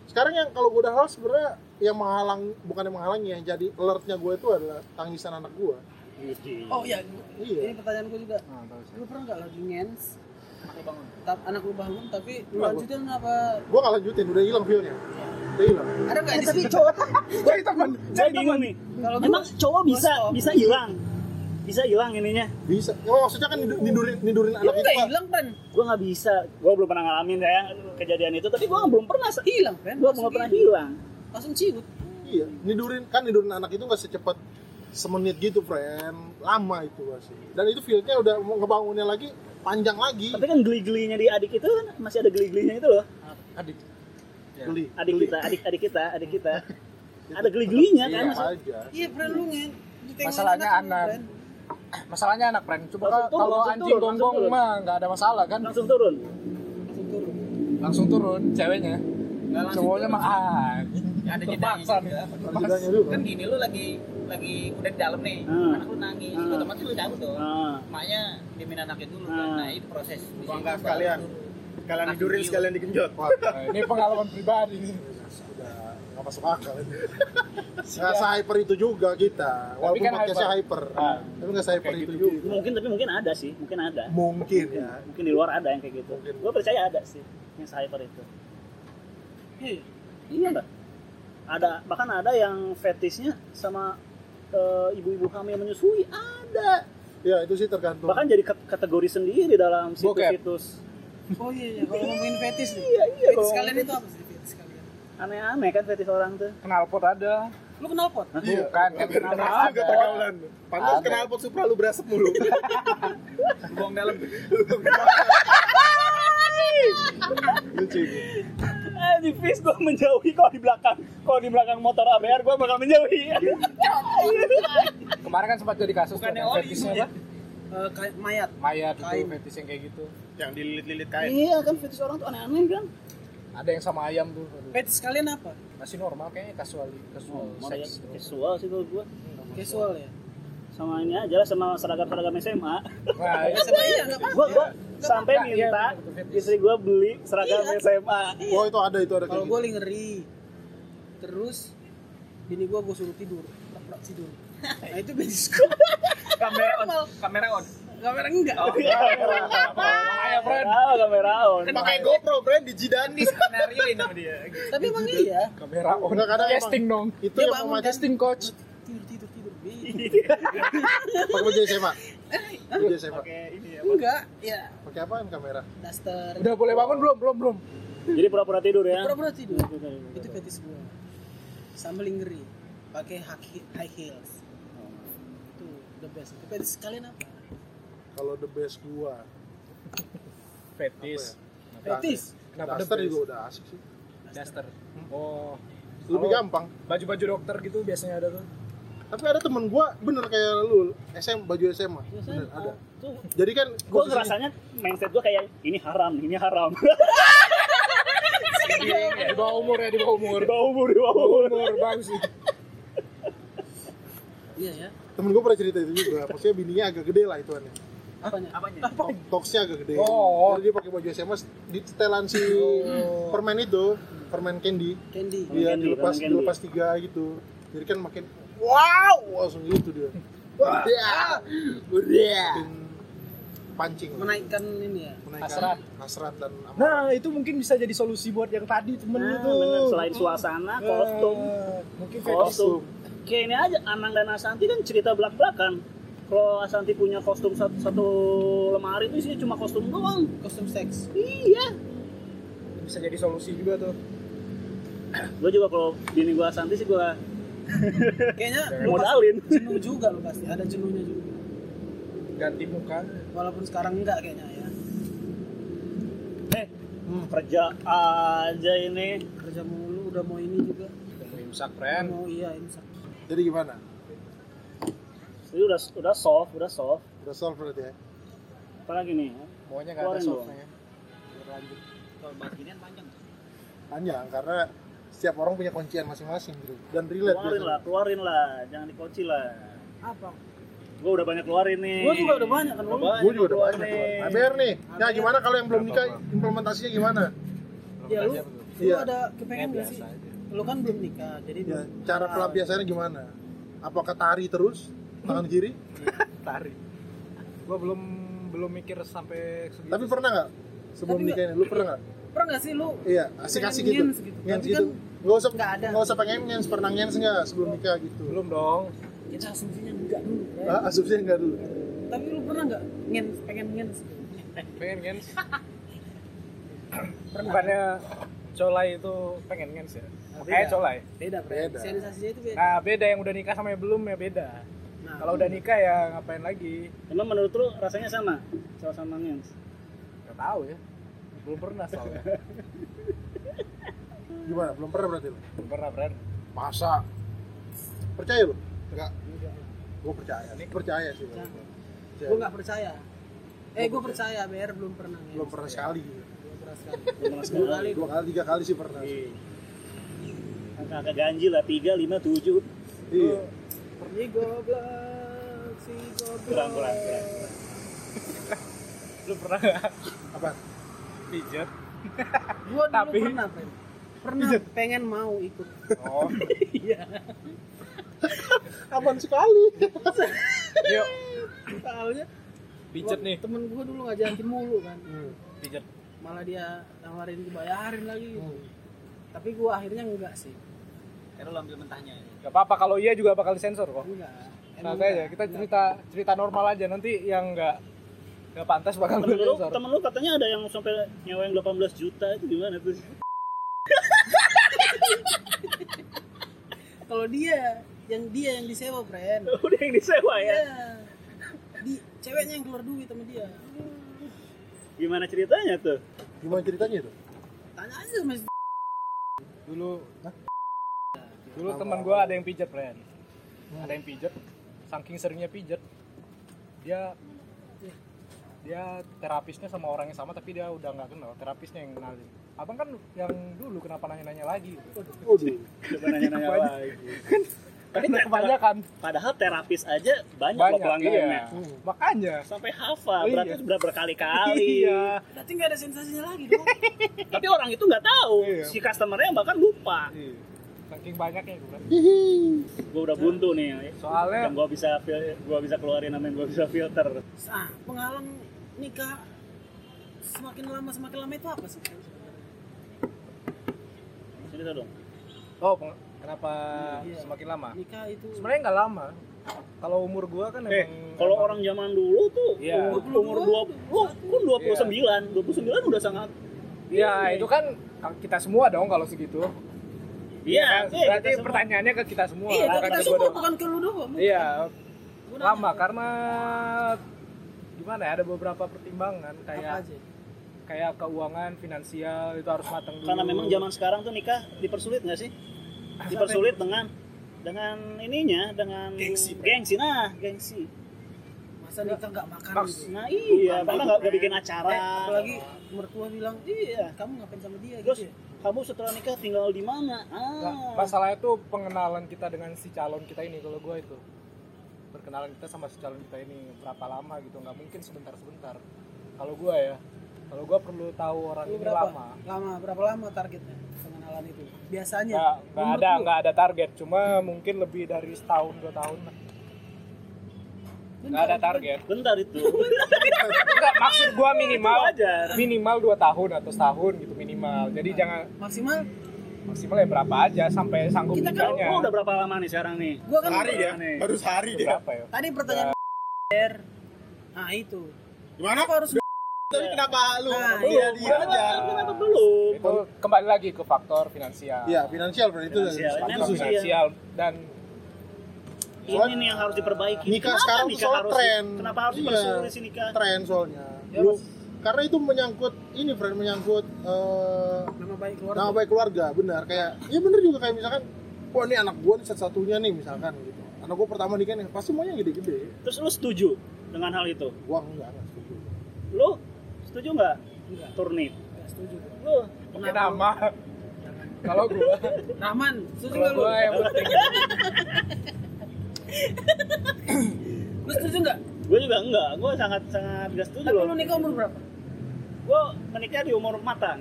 [SPEAKER 1] sekarang yang kalau gue udah halal sebenarnya yang menghalang bukan yang menghalangi yang jadi alertnya gue itu adalah tangisan anak gue
[SPEAKER 4] Oh iya.
[SPEAKER 1] Iya.
[SPEAKER 4] Ini pertanyaan gua juga. Lu pernah nggak lagi ngens? Ta- Anak lu bangun tapi lu lanjutin apa?
[SPEAKER 1] gue nggak lanjutin udah hilang feelnya udah hilang
[SPEAKER 4] Ada nggak di sini?
[SPEAKER 3] cowok
[SPEAKER 2] Jadi teman.
[SPEAKER 3] Saya bingung nih.
[SPEAKER 4] Kalau gua-
[SPEAKER 3] Emang cowok bisa
[SPEAKER 4] gua stop.
[SPEAKER 3] bisa hilang. Bisa hilang ininya.
[SPEAKER 1] bisa ya, maksudnya kan nidu- nidurin nidurin
[SPEAKER 4] Lu
[SPEAKER 1] anak itu
[SPEAKER 4] nggak
[SPEAKER 1] Pak.
[SPEAKER 4] hilang kan?
[SPEAKER 3] Gua nggak bisa. Gua belum pernah ngalamin ya kejadian itu, tapi gua belum pernah se-
[SPEAKER 4] Hilang kan?
[SPEAKER 3] gua belum pernah hilang.
[SPEAKER 4] Langsung ciut.
[SPEAKER 1] Iya, nidurin kan nidurin anak itu nggak secepat semenit gitu, friend. Lama itu pasti. Dan itu feel-nya udah mau ngebangunnya lagi panjang lagi.
[SPEAKER 3] Tapi kan geli-gelinya di adik itu kan masih ada geli-gelinya itu loh.
[SPEAKER 2] Adik.
[SPEAKER 1] Geli.
[SPEAKER 3] Adik
[SPEAKER 1] geli.
[SPEAKER 3] kita, adik adik kita, adik kita. Ada geli-gelinya
[SPEAKER 1] Iya,
[SPEAKER 3] kan
[SPEAKER 1] apa
[SPEAKER 3] maksudnya.
[SPEAKER 1] aja.
[SPEAKER 4] Iya, pernah lu ngen. Ditengok
[SPEAKER 2] Masalahnya
[SPEAKER 4] lu,
[SPEAKER 2] anak.
[SPEAKER 5] Ya,
[SPEAKER 4] Bren.
[SPEAKER 2] Masalahnya anak friend. Coba
[SPEAKER 3] Langsung
[SPEAKER 2] kalau-
[SPEAKER 3] turun,
[SPEAKER 2] kalau
[SPEAKER 3] langsung
[SPEAKER 2] anjing
[SPEAKER 3] turun,
[SPEAKER 2] gonggong
[SPEAKER 3] langsung turun.
[SPEAKER 2] mah nggak ada masalah kan.
[SPEAKER 3] Langsung turun.
[SPEAKER 4] Langsung turun.
[SPEAKER 2] Langsung turun ceweknya.
[SPEAKER 5] Enggak langsung.
[SPEAKER 2] Cowoknya mah ah.
[SPEAKER 5] ada
[SPEAKER 2] Terpaksa nih.
[SPEAKER 5] jedanya.
[SPEAKER 1] Perbedaannya dulu.
[SPEAKER 4] gitu,
[SPEAKER 5] Kan gini lu lagi lagi udah di dalam nih.
[SPEAKER 3] Hmm.
[SPEAKER 5] Anak lu nangis,
[SPEAKER 3] Hmm.
[SPEAKER 5] otomatis lu cabut dong.
[SPEAKER 3] Ah.
[SPEAKER 5] Maknya diemin anaknya dulu
[SPEAKER 3] Hmm.
[SPEAKER 5] kan. Nah, itu proses. Di
[SPEAKER 6] Gua
[SPEAKER 5] situ
[SPEAKER 6] enggak
[SPEAKER 5] baru
[SPEAKER 6] sekalian. Sekalian nidurin, sekalian digenjot.
[SPEAKER 2] Nah, ini pengalaman pribadi nih.
[SPEAKER 1] Udah nggak masuk akal itu. Nggak se-hyper itu juga kita. Walaupun
[SPEAKER 2] kan
[SPEAKER 1] podcastnya hyper.
[SPEAKER 2] Ah.
[SPEAKER 1] Tapi nggak se-hyper
[SPEAKER 2] Kayak
[SPEAKER 1] itu
[SPEAKER 2] gitu.
[SPEAKER 1] juga.
[SPEAKER 3] Mungkin tapi mungkin ada sih, mungkin ada.
[SPEAKER 1] Mungkin ya.
[SPEAKER 3] Mungkin di luar ada yang kayak gitu.
[SPEAKER 1] Mungkin.
[SPEAKER 3] Gua percaya ada sih yang cyber itu.
[SPEAKER 4] Hei,
[SPEAKER 3] Iya enggak? Ada bahkan ada yang fetishnya sama eh, ibu-ibu hamil menyusui ada
[SPEAKER 1] ya itu sih tergantung
[SPEAKER 3] bahkan jadi kat- kategori sendiri dalam
[SPEAKER 2] Bokep.
[SPEAKER 3] situs-situs
[SPEAKER 4] Oh iya, iya. kalau ngomongin fetis nih.
[SPEAKER 3] iya iya
[SPEAKER 4] Fetis
[SPEAKER 3] kalau
[SPEAKER 4] kalian itu apa sih fetis kalian?
[SPEAKER 3] aneh-aneh kan fetis orang tuh
[SPEAKER 2] Knalpot ada.
[SPEAKER 4] Lu kenal pot?
[SPEAKER 2] Bukan, kan
[SPEAKER 6] Kenapa
[SPEAKER 2] kenapa
[SPEAKER 6] juga
[SPEAKER 2] ada.
[SPEAKER 6] pergaulan? Pantas
[SPEAKER 2] Ada.
[SPEAKER 6] kenal pot supra lu berasap mulu.
[SPEAKER 5] buang dalam
[SPEAKER 6] Lucu.
[SPEAKER 3] Eh, di face gue menjauhi kalau di belakang kalau di belakang motor ABR gue bakal menjauhi
[SPEAKER 2] Kemarin kan sempat jadi kasus tuh,
[SPEAKER 5] Bukannya
[SPEAKER 2] yang
[SPEAKER 5] oli,
[SPEAKER 2] fetisnya
[SPEAKER 5] iya.
[SPEAKER 2] apa?
[SPEAKER 4] Eh, kayak mayat.
[SPEAKER 2] Mayat itu
[SPEAKER 4] Kain.
[SPEAKER 2] fetis yang kayak gitu.
[SPEAKER 6] Yang dililit-lilit kain.
[SPEAKER 3] iya kan fetis orang tuh aneh-aneh kan
[SPEAKER 2] Ada yang sama ayam tuh. aduh.
[SPEAKER 4] Fetis kalian apa?
[SPEAKER 2] Masih normal kayaknya casual casual
[SPEAKER 3] mau lihat
[SPEAKER 2] sex.
[SPEAKER 3] visual Oh, sih kalau gue
[SPEAKER 4] Casual ya.
[SPEAKER 3] sama ini aja lah sama seragam seragam SMA
[SPEAKER 2] Nah, iya.
[SPEAKER 3] ya?
[SPEAKER 4] Sama iya enggak apa-apa.
[SPEAKER 3] gue gue sampai
[SPEAKER 2] Nggak, iya,
[SPEAKER 3] minta
[SPEAKER 2] itu fetis.
[SPEAKER 3] istri gue beli seragam
[SPEAKER 4] Iya.
[SPEAKER 3] SMA
[SPEAKER 1] oh itu ada itu ada
[SPEAKER 4] Kalau
[SPEAKER 1] kayak
[SPEAKER 4] gue
[SPEAKER 1] gitu.
[SPEAKER 4] lingeri. Terus bini gue gue suruh tidur, prak tidur. Nah itu fetis gue.
[SPEAKER 5] kamera on kamera on Oh.
[SPEAKER 4] Kamera enggak.
[SPEAKER 2] Bahaya, friend.
[SPEAKER 3] Tahu Iya, kamera on
[SPEAKER 6] Pakai GoPro, friend, di jidan.
[SPEAKER 5] di skenario ini sama dia
[SPEAKER 4] Tapi emang iya.
[SPEAKER 2] Kamera on.
[SPEAKER 1] Nggak, kadang
[SPEAKER 2] Casting dong.
[SPEAKER 1] itu
[SPEAKER 4] Dia
[SPEAKER 1] yang
[SPEAKER 4] bangun
[SPEAKER 1] memacu
[SPEAKER 2] Casting coach.
[SPEAKER 4] Tidur tidur tidur. Iya.
[SPEAKER 1] pakai baju SMA baju SMA
[SPEAKER 4] Enggak, ya
[SPEAKER 1] pakai apaan kamera
[SPEAKER 4] daster.
[SPEAKER 2] Udah boleh bangun belum? Belum, belum.
[SPEAKER 3] jadi pura-pura tidur ya
[SPEAKER 4] Pura-pura tidur. Itu fetis gue. Sambil lingeri, pakai hak- high heels. Itu the best. Itu fetis kalian apa?
[SPEAKER 1] kalau the best gua
[SPEAKER 3] ya?
[SPEAKER 2] Fetis.
[SPEAKER 4] Fetis.
[SPEAKER 2] Kenapa
[SPEAKER 1] daster
[SPEAKER 2] fetis?
[SPEAKER 1] juga udah asik sih
[SPEAKER 2] Duster.
[SPEAKER 3] Hmm?
[SPEAKER 2] Oh.
[SPEAKER 1] lebih
[SPEAKER 2] Kalau
[SPEAKER 1] gampang
[SPEAKER 2] Baju-baju dokter gitu biasanya ada tuh.
[SPEAKER 1] tapi ada temen gua bener kayak lu SM baju SMA bener
[SPEAKER 4] oh,
[SPEAKER 1] ada jadi kan
[SPEAKER 3] gue
[SPEAKER 1] posisinya-
[SPEAKER 3] ngerasanya mindset gue kayak ini haram ini haram
[SPEAKER 5] Iya,
[SPEAKER 2] Di bawah umur ya, di bawah umur.
[SPEAKER 3] di bawah umur di bawah umur
[SPEAKER 2] Umur bagus sih.
[SPEAKER 4] Iya ya.
[SPEAKER 1] temen gua pernah cerita itu juga maksudnya bininya agak gede lah ituannya
[SPEAKER 4] Apanya?
[SPEAKER 5] apanya
[SPEAKER 1] Tok- toksnya agak gede
[SPEAKER 2] Oh.
[SPEAKER 1] jadi dia pakai baju SMA di setelan si permen itu permen candy
[SPEAKER 4] Candy.
[SPEAKER 3] Oh. Permen
[SPEAKER 1] Iya
[SPEAKER 3] candy,
[SPEAKER 1] dilepas
[SPEAKER 3] permen candy.
[SPEAKER 1] dilepas tiga gitu. Jadi kan makin wow langsung gitu dia. Udah, udah. Pancing.
[SPEAKER 4] Menaikkan ini ya.
[SPEAKER 1] Menaikkan
[SPEAKER 2] Hasrat.
[SPEAKER 1] hasrat dan amarah.
[SPEAKER 2] Nah, itu mungkin bisa jadi solusi buat yang tadi temen
[SPEAKER 3] Nah,
[SPEAKER 2] itu.
[SPEAKER 3] bener. selain suasana kostum
[SPEAKER 2] Eh, mungkin fetis.
[SPEAKER 3] kostum kayak ini aja Anang dan Asanti kan cerita belak belakan kalau Asanti punya kostum satu, satu lemari itu isinya cuma kostum doang
[SPEAKER 4] Kostum seks.
[SPEAKER 3] iya
[SPEAKER 2] Bisa jadi solusi juga tuh.
[SPEAKER 3] gue juga kalau bini gue Asanti sih gue
[SPEAKER 4] Kayaknya lu pasti
[SPEAKER 3] modalin
[SPEAKER 4] jenuh juga lu pasti. Ada jenuhnya juga.
[SPEAKER 2] Ganti muka.
[SPEAKER 4] Walaupun sekarang enggak kayaknya ya.
[SPEAKER 3] eh kerja aja ini
[SPEAKER 4] Kerja mulu udah mau ini juga.
[SPEAKER 2] Ketemu imsak, friend.
[SPEAKER 4] Mau iya ini.
[SPEAKER 1] Jadi gimana?
[SPEAKER 3] ini udah udah soft udah soft
[SPEAKER 1] Udah solve berarti ya.
[SPEAKER 3] apalagi nih
[SPEAKER 2] Pokoknya nggak ada
[SPEAKER 3] Keluarin
[SPEAKER 2] softnya.
[SPEAKER 5] kalau beginian panjang
[SPEAKER 1] Panjang karena setiap orang punya kuncian masing-masing gitu dan relate
[SPEAKER 3] keluarin
[SPEAKER 1] biasanya.
[SPEAKER 3] lah keluarin lah jangan dikunci lah
[SPEAKER 4] Apa?
[SPEAKER 3] gue udah banyak keluarin nih
[SPEAKER 4] Gue juga udah banyak kan.
[SPEAKER 3] Udah
[SPEAKER 4] Bang?
[SPEAKER 1] Gue juga udah
[SPEAKER 3] keluarin.
[SPEAKER 1] banyak. ABR nih. Nah gimana kalau yang belum nikah implementasinya gimana?
[SPEAKER 4] Ya lu, lu
[SPEAKER 1] Iya.
[SPEAKER 4] ada kepengen gak sih? Lu kan belum nikah, jadi Ah.
[SPEAKER 1] Ya,
[SPEAKER 4] belum-
[SPEAKER 1] cara pelampiasannya gimana? Apakah tari terus tangan kiri?
[SPEAKER 2] Tarik. Gua belum belum mikir sampai segitu.
[SPEAKER 1] Tapi pernah nggak sebelum
[SPEAKER 4] Tapi nggak-
[SPEAKER 1] nikah ini? Lu pernah nggak?
[SPEAKER 4] Pernah gak sih lu
[SPEAKER 1] Iya, asik-asik gitu.
[SPEAKER 4] Pengen gitu.
[SPEAKER 1] Ngens
[SPEAKER 4] Tapi
[SPEAKER 1] gitu. Nggak usah
[SPEAKER 4] nggak ada.
[SPEAKER 1] nggak usah pengen ngens, pernah ngens nggak sebelum nikah gitu.
[SPEAKER 2] belum dong.
[SPEAKER 4] kita asumsinya enggak dulu ya.
[SPEAKER 1] Ah, asumsinya enggak dulu.
[SPEAKER 4] tapi lu pernah nggak ngen pengen ngen
[SPEAKER 2] Pengen gens. Bukannya colai itu pengen gens ya. Makanya
[SPEAKER 4] Beda.
[SPEAKER 2] colai.
[SPEAKER 4] beda
[SPEAKER 1] Beda.
[SPEAKER 4] beda sensasinya itu beda
[SPEAKER 2] Nah, beda yang udah nikah sama yang belum ya beda.
[SPEAKER 4] nah,
[SPEAKER 2] Kalau udah nikah ya ngapain lagi?
[SPEAKER 3] emang menurut lu rasanya sama sama ngens
[SPEAKER 2] Gak tahu ya. Belum pernah soalnya.
[SPEAKER 1] Gimana? Belum pernah berarti lu?
[SPEAKER 2] belum pernah, friend.
[SPEAKER 1] Masa? Percaya lu? Enggak. Gue percaya. Ini percaya sih. Bang.
[SPEAKER 4] Percaya.
[SPEAKER 1] Percaya.
[SPEAKER 4] gue nggak percaya eh gue percaya BR belum pernah ngen
[SPEAKER 1] belum pernah sekali.
[SPEAKER 4] belum pernah sekali Dua
[SPEAKER 3] belum
[SPEAKER 4] kali.
[SPEAKER 1] Dua kali, tiga kali sih pernah.
[SPEAKER 3] Iya. Angka-angka ganjil lah, 3, 5, 7
[SPEAKER 1] Iya.
[SPEAKER 4] si goblok si
[SPEAKER 3] Kurang,
[SPEAKER 4] goblok
[SPEAKER 3] kurang, kurang
[SPEAKER 2] Lu pernah nggak
[SPEAKER 1] Apa?
[SPEAKER 2] pijet?
[SPEAKER 4] gue dulu
[SPEAKER 2] Tapi-
[SPEAKER 4] pernah Fen. pernah pengen mau ikut Iya.
[SPEAKER 2] Oh.
[SPEAKER 1] Aman sekali.
[SPEAKER 2] Yuk,
[SPEAKER 4] soalnya
[SPEAKER 2] pijet
[SPEAKER 4] wak-
[SPEAKER 2] nih.
[SPEAKER 4] temen gue dulu ngajakin mulu kan
[SPEAKER 1] Hmm.
[SPEAKER 2] Pijet.
[SPEAKER 4] malah dia nawarin dibayarin lagi gitu.
[SPEAKER 1] Hmm.
[SPEAKER 4] tapi gue akhirnya enggak sih
[SPEAKER 5] Akhirnya lo ambil mentahnya ya.
[SPEAKER 2] Gak apa-apa kalau iya juga bakal disensor kok.
[SPEAKER 4] Enggak. Emang
[SPEAKER 2] Santai Nah, aja, kita cerita cerita normal aja nanti yang nggak nggak pantas bakal
[SPEAKER 3] temen lu,
[SPEAKER 2] disensor.
[SPEAKER 3] temen lu katanya ada yang sampai nyewain 18 juta itu gimana tuh?
[SPEAKER 4] Kalau dia yang dia yang disewa, friend.
[SPEAKER 2] Oh,
[SPEAKER 3] Udah yang disewa
[SPEAKER 4] Iya.
[SPEAKER 3] ya?
[SPEAKER 4] Di ceweknya yang keluar duit sama dia.
[SPEAKER 3] Gimana ceritanya tuh?
[SPEAKER 1] Gimana ceritanya itu?
[SPEAKER 4] Tanya aja sama si
[SPEAKER 2] Dulu dulu teman gue ada yang pijet friend, ada yang pijet, saking seringnya pijet, dia dia terapisnya sama orang yang sama tapi dia udah nggak kenal terapisnya yang kenalin abang kan yang dulu kenapa nanya-nanya lagi
[SPEAKER 1] Waduh,
[SPEAKER 3] Coba nanya-nanya lagi.
[SPEAKER 2] karena kebanyakan
[SPEAKER 3] Padahal terapis aja banyak, loh
[SPEAKER 2] banyak
[SPEAKER 3] pelanggannya.
[SPEAKER 2] iya. makanya
[SPEAKER 3] Sampai hafal,
[SPEAKER 2] Oh, iya.
[SPEAKER 3] berarti sudah berkali-kali.
[SPEAKER 2] iya
[SPEAKER 4] Berarti nggak ada sensasinya lagi dong.
[SPEAKER 3] Tapi orang itu nggak tahu
[SPEAKER 2] Iya.
[SPEAKER 3] si customernya bahkan lupa.
[SPEAKER 2] Iya. Saking banyaknya gue bilang.
[SPEAKER 3] Gue udah buntu nih. ya.
[SPEAKER 2] Soalnya-
[SPEAKER 3] yang gue bisa fil- gua bisa keluarin sama yang gue bisa filter.
[SPEAKER 4] Ah, penghalang nikah semakin lama semakin lama itu apa sih?
[SPEAKER 3] Sini tuh dong.
[SPEAKER 2] Oh, peng- kenapa
[SPEAKER 4] Iya.
[SPEAKER 2] semakin lama?
[SPEAKER 4] Nikah itu
[SPEAKER 2] Sebenarnya nggak lama. Kalau umur gua kan
[SPEAKER 3] Eh,
[SPEAKER 2] emang
[SPEAKER 3] kalau orang zaman dulu tuh
[SPEAKER 2] Iya.
[SPEAKER 3] umur, umur 20, kan 29, 29 udah sangat
[SPEAKER 2] Iya, itu kan kita semua dong kalau segitu.
[SPEAKER 3] Iya,
[SPEAKER 2] Kan?
[SPEAKER 3] iya,
[SPEAKER 2] Berarti
[SPEAKER 3] kita semua.
[SPEAKER 2] pertanyaannya ke kita semua.
[SPEAKER 4] Iya,
[SPEAKER 2] bukan
[SPEAKER 4] kita
[SPEAKER 2] ke gua
[SPEAKER 4] semua
[SPEAKER 2] doang.
[SPEAKER 4] bukan ke lu doang.
[SPEAKER 2] Iya,
[SPEAKER 4] Gua nanya.
[SPEAKER 2] lama karena gimana ya ada beberapa pertimbangan
[SPEAKER 4] apa
[SPEAKER 2] kayak
[SPEAKER 4] aja?
[SPEAKER 2] kayak keuangan, finansial itu harus matang dulu.
[SPEAKER 3] karena memang zaman sekarang tuh nikah dipersulit nggak sih? Dipersulit dengan dengan ininya, dengan
[SPEAKER 6] Gengsi, Pak.
[SPEAKER 3] gengsi. Nah, gengsi.
[SPEAKER 4] Masa
[SPEAKER 2] Iya.
[SPEAKER 4] nikah nggak makan
[SPEAKER 2] Maks-
[SPEAKER 4] gitu.
[SPEAKER 3] Nah, iya, karena nggak nggak bikin acara.
[SPEAKER 4] Eh, apalagi mertua bilang,
[SPEAKER 3] iya.
[SPEAKER 4] kamu ngapain sama dia
[SPEAKER 3] Terus
[SPEAKER 4] gitu ya?
[SPEAKER 3] kamu setelah nikah tinggal di mana?
[SPEAKER 2] Nah,
[SPEAKER 3] Ah.
[SPEAKER 2] masalahnya tuh pengenalan kita dengan si calon kita ini kalau gua itu perkenalan kita sama si calon kita ini berapa lama gitu nggak mungkin sebentar-sebentar kalau gua ya kalau gua perlu tahu orang
[SPEAKER 4] Lu
[SPEAKER 2] ini
[SPEAKER 4] berapa?
[SPEAKER 2] lama
[SPEAKER 4] Lama, berapa lama targetnya pengenalan itu? Biasanya.
[SPEAKER 2] nggak nggak
[SPEAKER 4] Menurut
[SPEAKER 2] ada
[SPEAKER 4] lu,
[SPEAKER 2] nggak ada target cuma mungkin lebih dari setahun dua tahun lah. nggak ada target
[SPEAKER 3] Bentar itu.
[SPEAKER 2] nggak maksud gua minimal
[SPEAKER 3] wajar.
[SPEAKER 2] minimal dua tahun atau setahun gitu minimal jadi jangan
[SPEAKER 4] Maksimal
[SPEAKER 2] maksimal ya berapa aja sampai sanggup
[SPEAKER 4] Kita kan-
[SPEAKER 2] nikahnya
[SPEAKER 3] Lu Oh, udah berapa lama nih sekarang nih?
[SPEAKER 4] gua kan
[SPEAKER 6] Sehari dia,
[SPEAKER 3] Aneh.
[SPEAKER 6] baru sehari dia.
[SPEAKER 2] berapa ya
[SPEAKER 4] tadi pertanyaan R. Nah, itu.
[SPEAKER 6] Gimana?
[SPEAKER 4] Kenapa harus
[SPEAKER 6] Tapi kenapa lu?
[SPEAKER 4] Nah,
[SPEAKER 6] Dia
[SPEAKER 2] iya.
[SPEAKER 1] Iya,
[SPEAKER 6] dia aja.
[SPEAKER 3] Kenapa belum?
[SPEAKER 2] itu kembali lagi ke faktor finansial
[SPEAKER 1] iya finansial berarti itu
[SPEAKER 3] Finansial.
[SPEAKER 1] dari-
[SPEAKER 2] Faktor
[SPEAKER 3] Finansial.
[SPEAKER 2] finansial iya. dan
[SPEAKER 3] Ini nih yang harus diperbaiki.
[SPEAKER 1] nikah
[SPEAKER 3] Kenapa
[SPEAKER 1] sekarang tuh
[SPEAKER 3] nikah
[SPEAKER 1] soal
[SPEAKER 3] harus-
[SPEAKER 1] tren.
[SPEAKER 3] Kenapa harus
[SPEAKER 1] Iya.
[SPEAKER 3] dipersulit sih nikah?
[SPEAKER 1] tren soalnya.
[SPEAKER 2] Ya,
[SPEAKER 1] Lu-
[SPEAKER 2] Mas.
[SPEAKER 1] karena itu menyangkut ini friend menyangkut eh,
[SPEAKER 4] nama baik keluarga?
[SPEAKER 1] nama baik keluarga benar kayak ya benar juga kayak misalkan wah ini anak gua nih satu-satunya nih misalkan gitu anak gua pertama nikah nih pasti maunya yang gede-gede
[SPEAKER 3] Terus lu setuju dengan hal itu?
[SPEAKER 1] gua enggak enggak setuju
[SPEAKER 3] Lu setuju nggak?
[SPEAKER 4] Enggak,
[SPEAKER 3] Turnip.
[SPEAKER 4] enggak setuju.
[SPEAKER 3] Lu
[SPEAKER 2] pakai nama kalau gua
[SPEAKER 4] Rahman, setuju
[SPEAKER 2] kalau
[SPEAKER 4] enggak lu?
[SPEAKER 2] gua eh, yang penting gitu.
[SPEAKER 4] Lu setuju enggak?
[SPEAKER 3] gue juga enggak. Gue sangat sangat gak setuju
[SPEAKER 4] Tapi lu
[SPEAKER 3] loh.
[SPEAKER 4] nikah umur berapa?
[SPEAKER 3] Gue menikah di umur matang.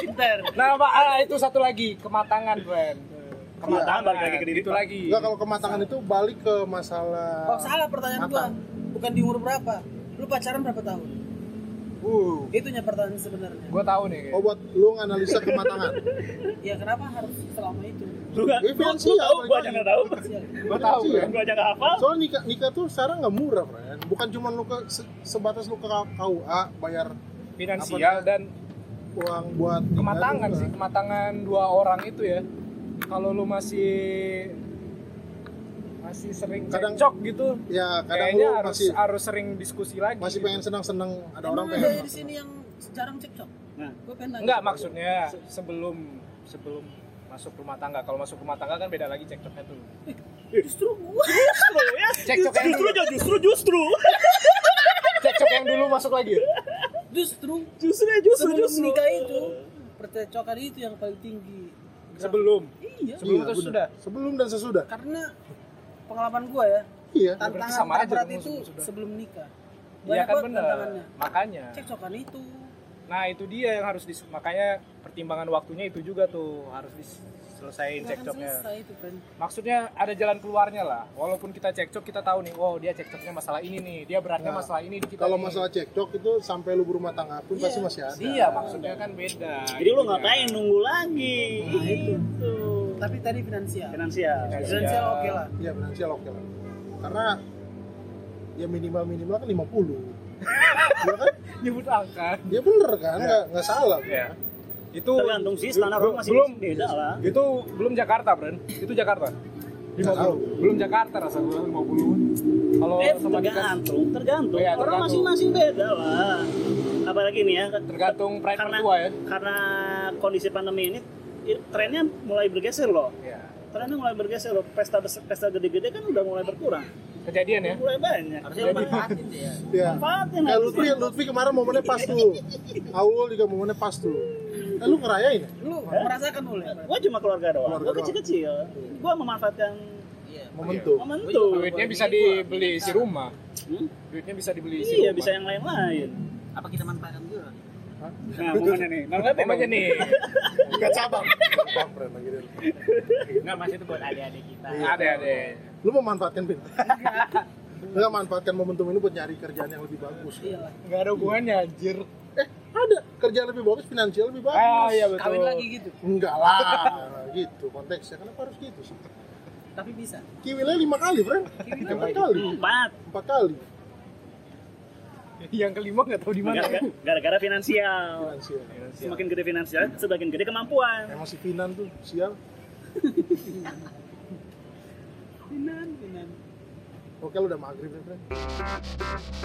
[SPEAKER 4] Pintar.
[SPEAKER 2] nah Pak, ah, itu satu lagi kematangan friend
[SPEAKER 3] Kematangan balik lagi ke diri,
[SPEAKER 2] itu
[SPEAKER 3] Pak.
[SPEAKER 2] lagi
[SPEAKER 1] Iya. enggak kalau kematangan itu balik ke masalah
[SPEAKER 4] Oh, salah pertanyaan gua.
[SPEAKER 1] Matang.
[SPEAKER 4] Bukan di umur berapa. Lu pacaran berapa tahun?
[SPEAKER 1] uh
[SPEAKER 4] Itunya pertanyaan sebenarnya.
[SPEAKER 2] gua tahu nih
[SPEAKER 1] oh buat lu nganalisa kematangan
[SPEAKER 4] Ya kenapa harus selama itu?
[SPEAKER 3] Lu nggak?
[SPEAKER 1] Ini
[SPEAKER 3] Lu lu
[SPEAKER 1] finansial,
[SPEAKER 3] tahu? Gue
[SPEAKER 1] balik
[SPEAKER 3] aja
[SPEAKER 1] lagi.
[SPEAKER 3] nggak tahu.
[SPEAKER 4] Sial.
[SPEAKER 2] gua tahu
[SPEAKER 1] Iya.
[SPEAKER 2] friend.
[SPEAKER 3] Gue aja nggak hafal.
[SPEAKER 1] soalnya nikah nikah tuh sekarang nggak murah friend bukan cuma lu ke se- sebatas lu ke KUA bayar
[SPEAKER 2] finansial dan
[SPEAKER 1] uang buat nikah
[SPEAKER 2] kematangan
[SPEAKER 1] juga.
[SPEAKER 2] sih kematangan dua orang itu ya kalau lu masih masih sering
[SPEAKER 1] Kadang-
[SPEAKER 2] cocok gitu
[SPEAKER 1] ya kadang
[SPEAKER 2] kayaknya
[SPEAKER 1] lu
[SPEAKER 2] harus
[SPEAKER 1] masih
[SPEAKER 2] harus sering diskusi lagi
[SPEAKER 1] masih
[SPEAKER 2] gitu.
[SPEAKER 1] pengen senang-senang ada orang
[SPEAKER 4] Emang
[SPEAKER 1] pengen
[SPEAKER 4] ada di sini yang jarang cekcok?
[SPEAKER 3] Nah.
[SPEAKER 4] Gua pengen nanya.
[SPEAKER 2] enggak maksudnya se- sebelum sebelum masuk rumah tangga kalau masuk rumah tangga kan beda lagi cekcoknya tuh
[SPEAKER 4] Eh, Justru gua.
[SPEAKER 3] Justru ya.
[SPEAKER 2] Cekcok yang dulu.
[SPEAKER 3] Justru ya, justru justru.
[SPEAKER 2] cekcok yang dulu masuk lagi
[SPEAKER 4] Justru
[SPEAKER 3] Justru ya, justru
[SPEAKER 4] sebelum
[SPEAKER 3] justru.
[SPEAKER 4] nikah itu percecokan itu yang paling tinggi.
[SPEAKER 2] sebelum
[SPEAKER 4] Iya.
[SPEAKER 2] sebelum
[SPEAKER 1] Iya,
[SPEAKER 2] atau
[SPEAKER 1] benar.
[SPEAKER 2] sudah
[SPEAKER 1] sebelum dan sesudah
[SPEAKER 4] Karena pengalaman gua ya,
[SPEAKER 1] iya
[SPEAKER 4] tantangan
[SPEAKER 2] sama aja
[SPEAKER 4] terberat
[SPEAKER 2] dong,
[SPEAKER 4] itu
[SPEAKER 2] sudah.
[SPEAKER 4] sebelum nikah.
[SPEAKER 2] Iya
[SPEAKER 4] Banyak
[SPEAKER 2] kan
[SPEAKER 4] banget tantangannya.
[SPEAKER 2] bener makanya
[SPEAKER 4] Cekcokan itu.
[SPEAKER 2] nah itu dia yang harus dis makanya pertimbangan waktunya itu juga tuh harus diselesain
[SPEAKER 4] Nggak akan
[SPEAKER 2] cekcoknya
[SPEAKER 4] selesai itu, Ben.
[SPEAKER 2] maksudnya ada jalan keluarnya lah walaupun kita cekcok kita tahu nih oh dia cekcoknya masalah ini nih dia beratnya
[SPEAKER 1] Nah,
[SPEAKER 2] masalah ini di kita
[SPEAKER 1] kalau
[SPEAKER 2] nih.
[SPEAKER 1] masalah cekcok itu sampai lu berumah tangga pun
[SPEAKER 4] Iya.
[SPEAKER 1] pasti masih ada
[SPEAKER 2] iya maksudnya kan beda
[SPEAKER 3] Nah, Jadi lu
[SPEAKER 2] Intinya.
[SPEAKER 3] ngapain nunggu lagi?
[SPEAKER 4] Nah, itu.
[SPEAKER 3] Gitu.
[SPEAKER 4] tapi tadi finansial
[SPEAKER 3] finansial
[SPEAKER 4] finansial oke lah
[SPEAKER 1] Iya finansial oke lah. Karena ya minimal minimal kan 50 Iya kan?
[SPEAKER 2] nyebut angka
[SPEAKER 1] Dia bener kan?
[SPEAKER 2] Iya.
[SPEAKER 1] Nggak nggak salah.
[SPEAKER 2] ya itu
[SPEAKER 3] tergantung sih standar
[SPEAKER 2] belum-
[SPEAKER 3] orang masih
[SPEAKER 2] belum
[SPEAKER 3] beda lah
[SPEAKER 2] itu belum Jakarta Bren itu Jakarta
[SPEAKER 1] Nggak tahu.
[SPEAKER 2] 50 belum Jakarta rasa gue 50 kalau
[SPEAKER 3] eh
[SPEAKER 2] sama dikasih
[SPEAKER 3] tergantung tergantung
[SPEAKER 2] Oh, iya,
[SPEAKER 3] orang
[SPEAKER 2] tergantung.
[SPEAKER 3] masing-masing beda lah apalagi nih ya
[SPEAKER 2] tergantung pride
[SPEAKER 3] karena
[SPEAKER 2] mertua ya
[SPEAKER 3] karena kondisi pandemi ini i- trennya mulai bergeser loh
[SPEAKER 2] Iya.
[SPEAKER 3] trennya mulai bergeser loh pesta bes- pesta gede-gede kan udah mulai berkurang
[SPEAKER 2] kejadian ya
[SPEAKER 3] mulai banyak
[SPEAKER 5] Harusnya lu manfaatin deh ya.
[SPEAKER 1] Ya.
[SPEAKER 3] manfaatin
[SPEAKER 1] Kayak Lutfi,
[SPEAKER 3] harusnya.
[SPEAKER 1] Lutfi kemarin momennya pas tuh. Awul juga momennya pas tuh. Eh lu ngerayain ya?
[SPEAKER 4] lu merasakan boleh
[SPEAKER 3] gua cuma keluarga doang
[SPEAKER 1] Keluarga
[SPEAKER 3] gua
[SPEAKER 1] doang.
[SPEAKER 3] kecil-kecil gua memanfaatkan
[SPEAKER 5] Iya.
[SPEAKER 1] Momentum.
[SPEAKER 3] momentum
[SPEAKER 2] duitnya bisa dibeli isi rumah
[SPEAKER 3] Hmm?
[SPEAKER 2] duitnya bisa dibeli isi
[SPEAKER 3] iya
[SPEAKER 2] rumah
[SPEAKER 3] bisa yang lain-lain
[SPEAKER 5] Apa kita manfaatkan juga?
[SPEAKER 3] nah momennya nih nah, lihat
[SPEAKER 2] namanya nih
[SPEAKER 1] Bukan cabang. Cabang, Fren, lagi dia.
[SPEAKER 5] Enggak, masih itu buat adik-adik
[SPEAKER 3] Nah,
[SPEAKER 5] kita.
[SPEAKER 2] ada ada
[SPEAKER 3] iya.
[SPEAKER 1] Lu mau manfaatkan Pin? Enggak manfaatkan momentum ini buat nyari kerjaan yang lebih bagus.
[SPEAKER 4] iya lah
[SPEAKER 2] nggak ada hubungannya anjir
[SPEAKER 1] Eh, ada kerjaan lebih bagus, finansial lebih bagus.
[SPEAKER 2] ah iya betul
[SPEAKER 4] kawin lagi gitu
[SPEAKER 1] Enggak lah, gitu konteksnya. Kenapa harus gitu sih?
[SPEAKER 4] tapi bisa
[SPEAKER 1] Kiwinya lima kali, Fren. Empat kali.
[SPEAKER 3] empat
[SPEAKER 1] Empat kali.
[SPEAKER 2] yang kelima nggak tahu di mana
[SPEAKER 3] Gara- gara-gara finansial
[SPEAKER 1] Finansial.
[SPEAKER 3] semakin gede finansial semakin gede kemampuan
[SPEAKER 1] Emang si Finan tuh sial.
[SPEAKER 4] finan finan
[SPEAKER 1] Oke, lu udah maghrib ya, Fren.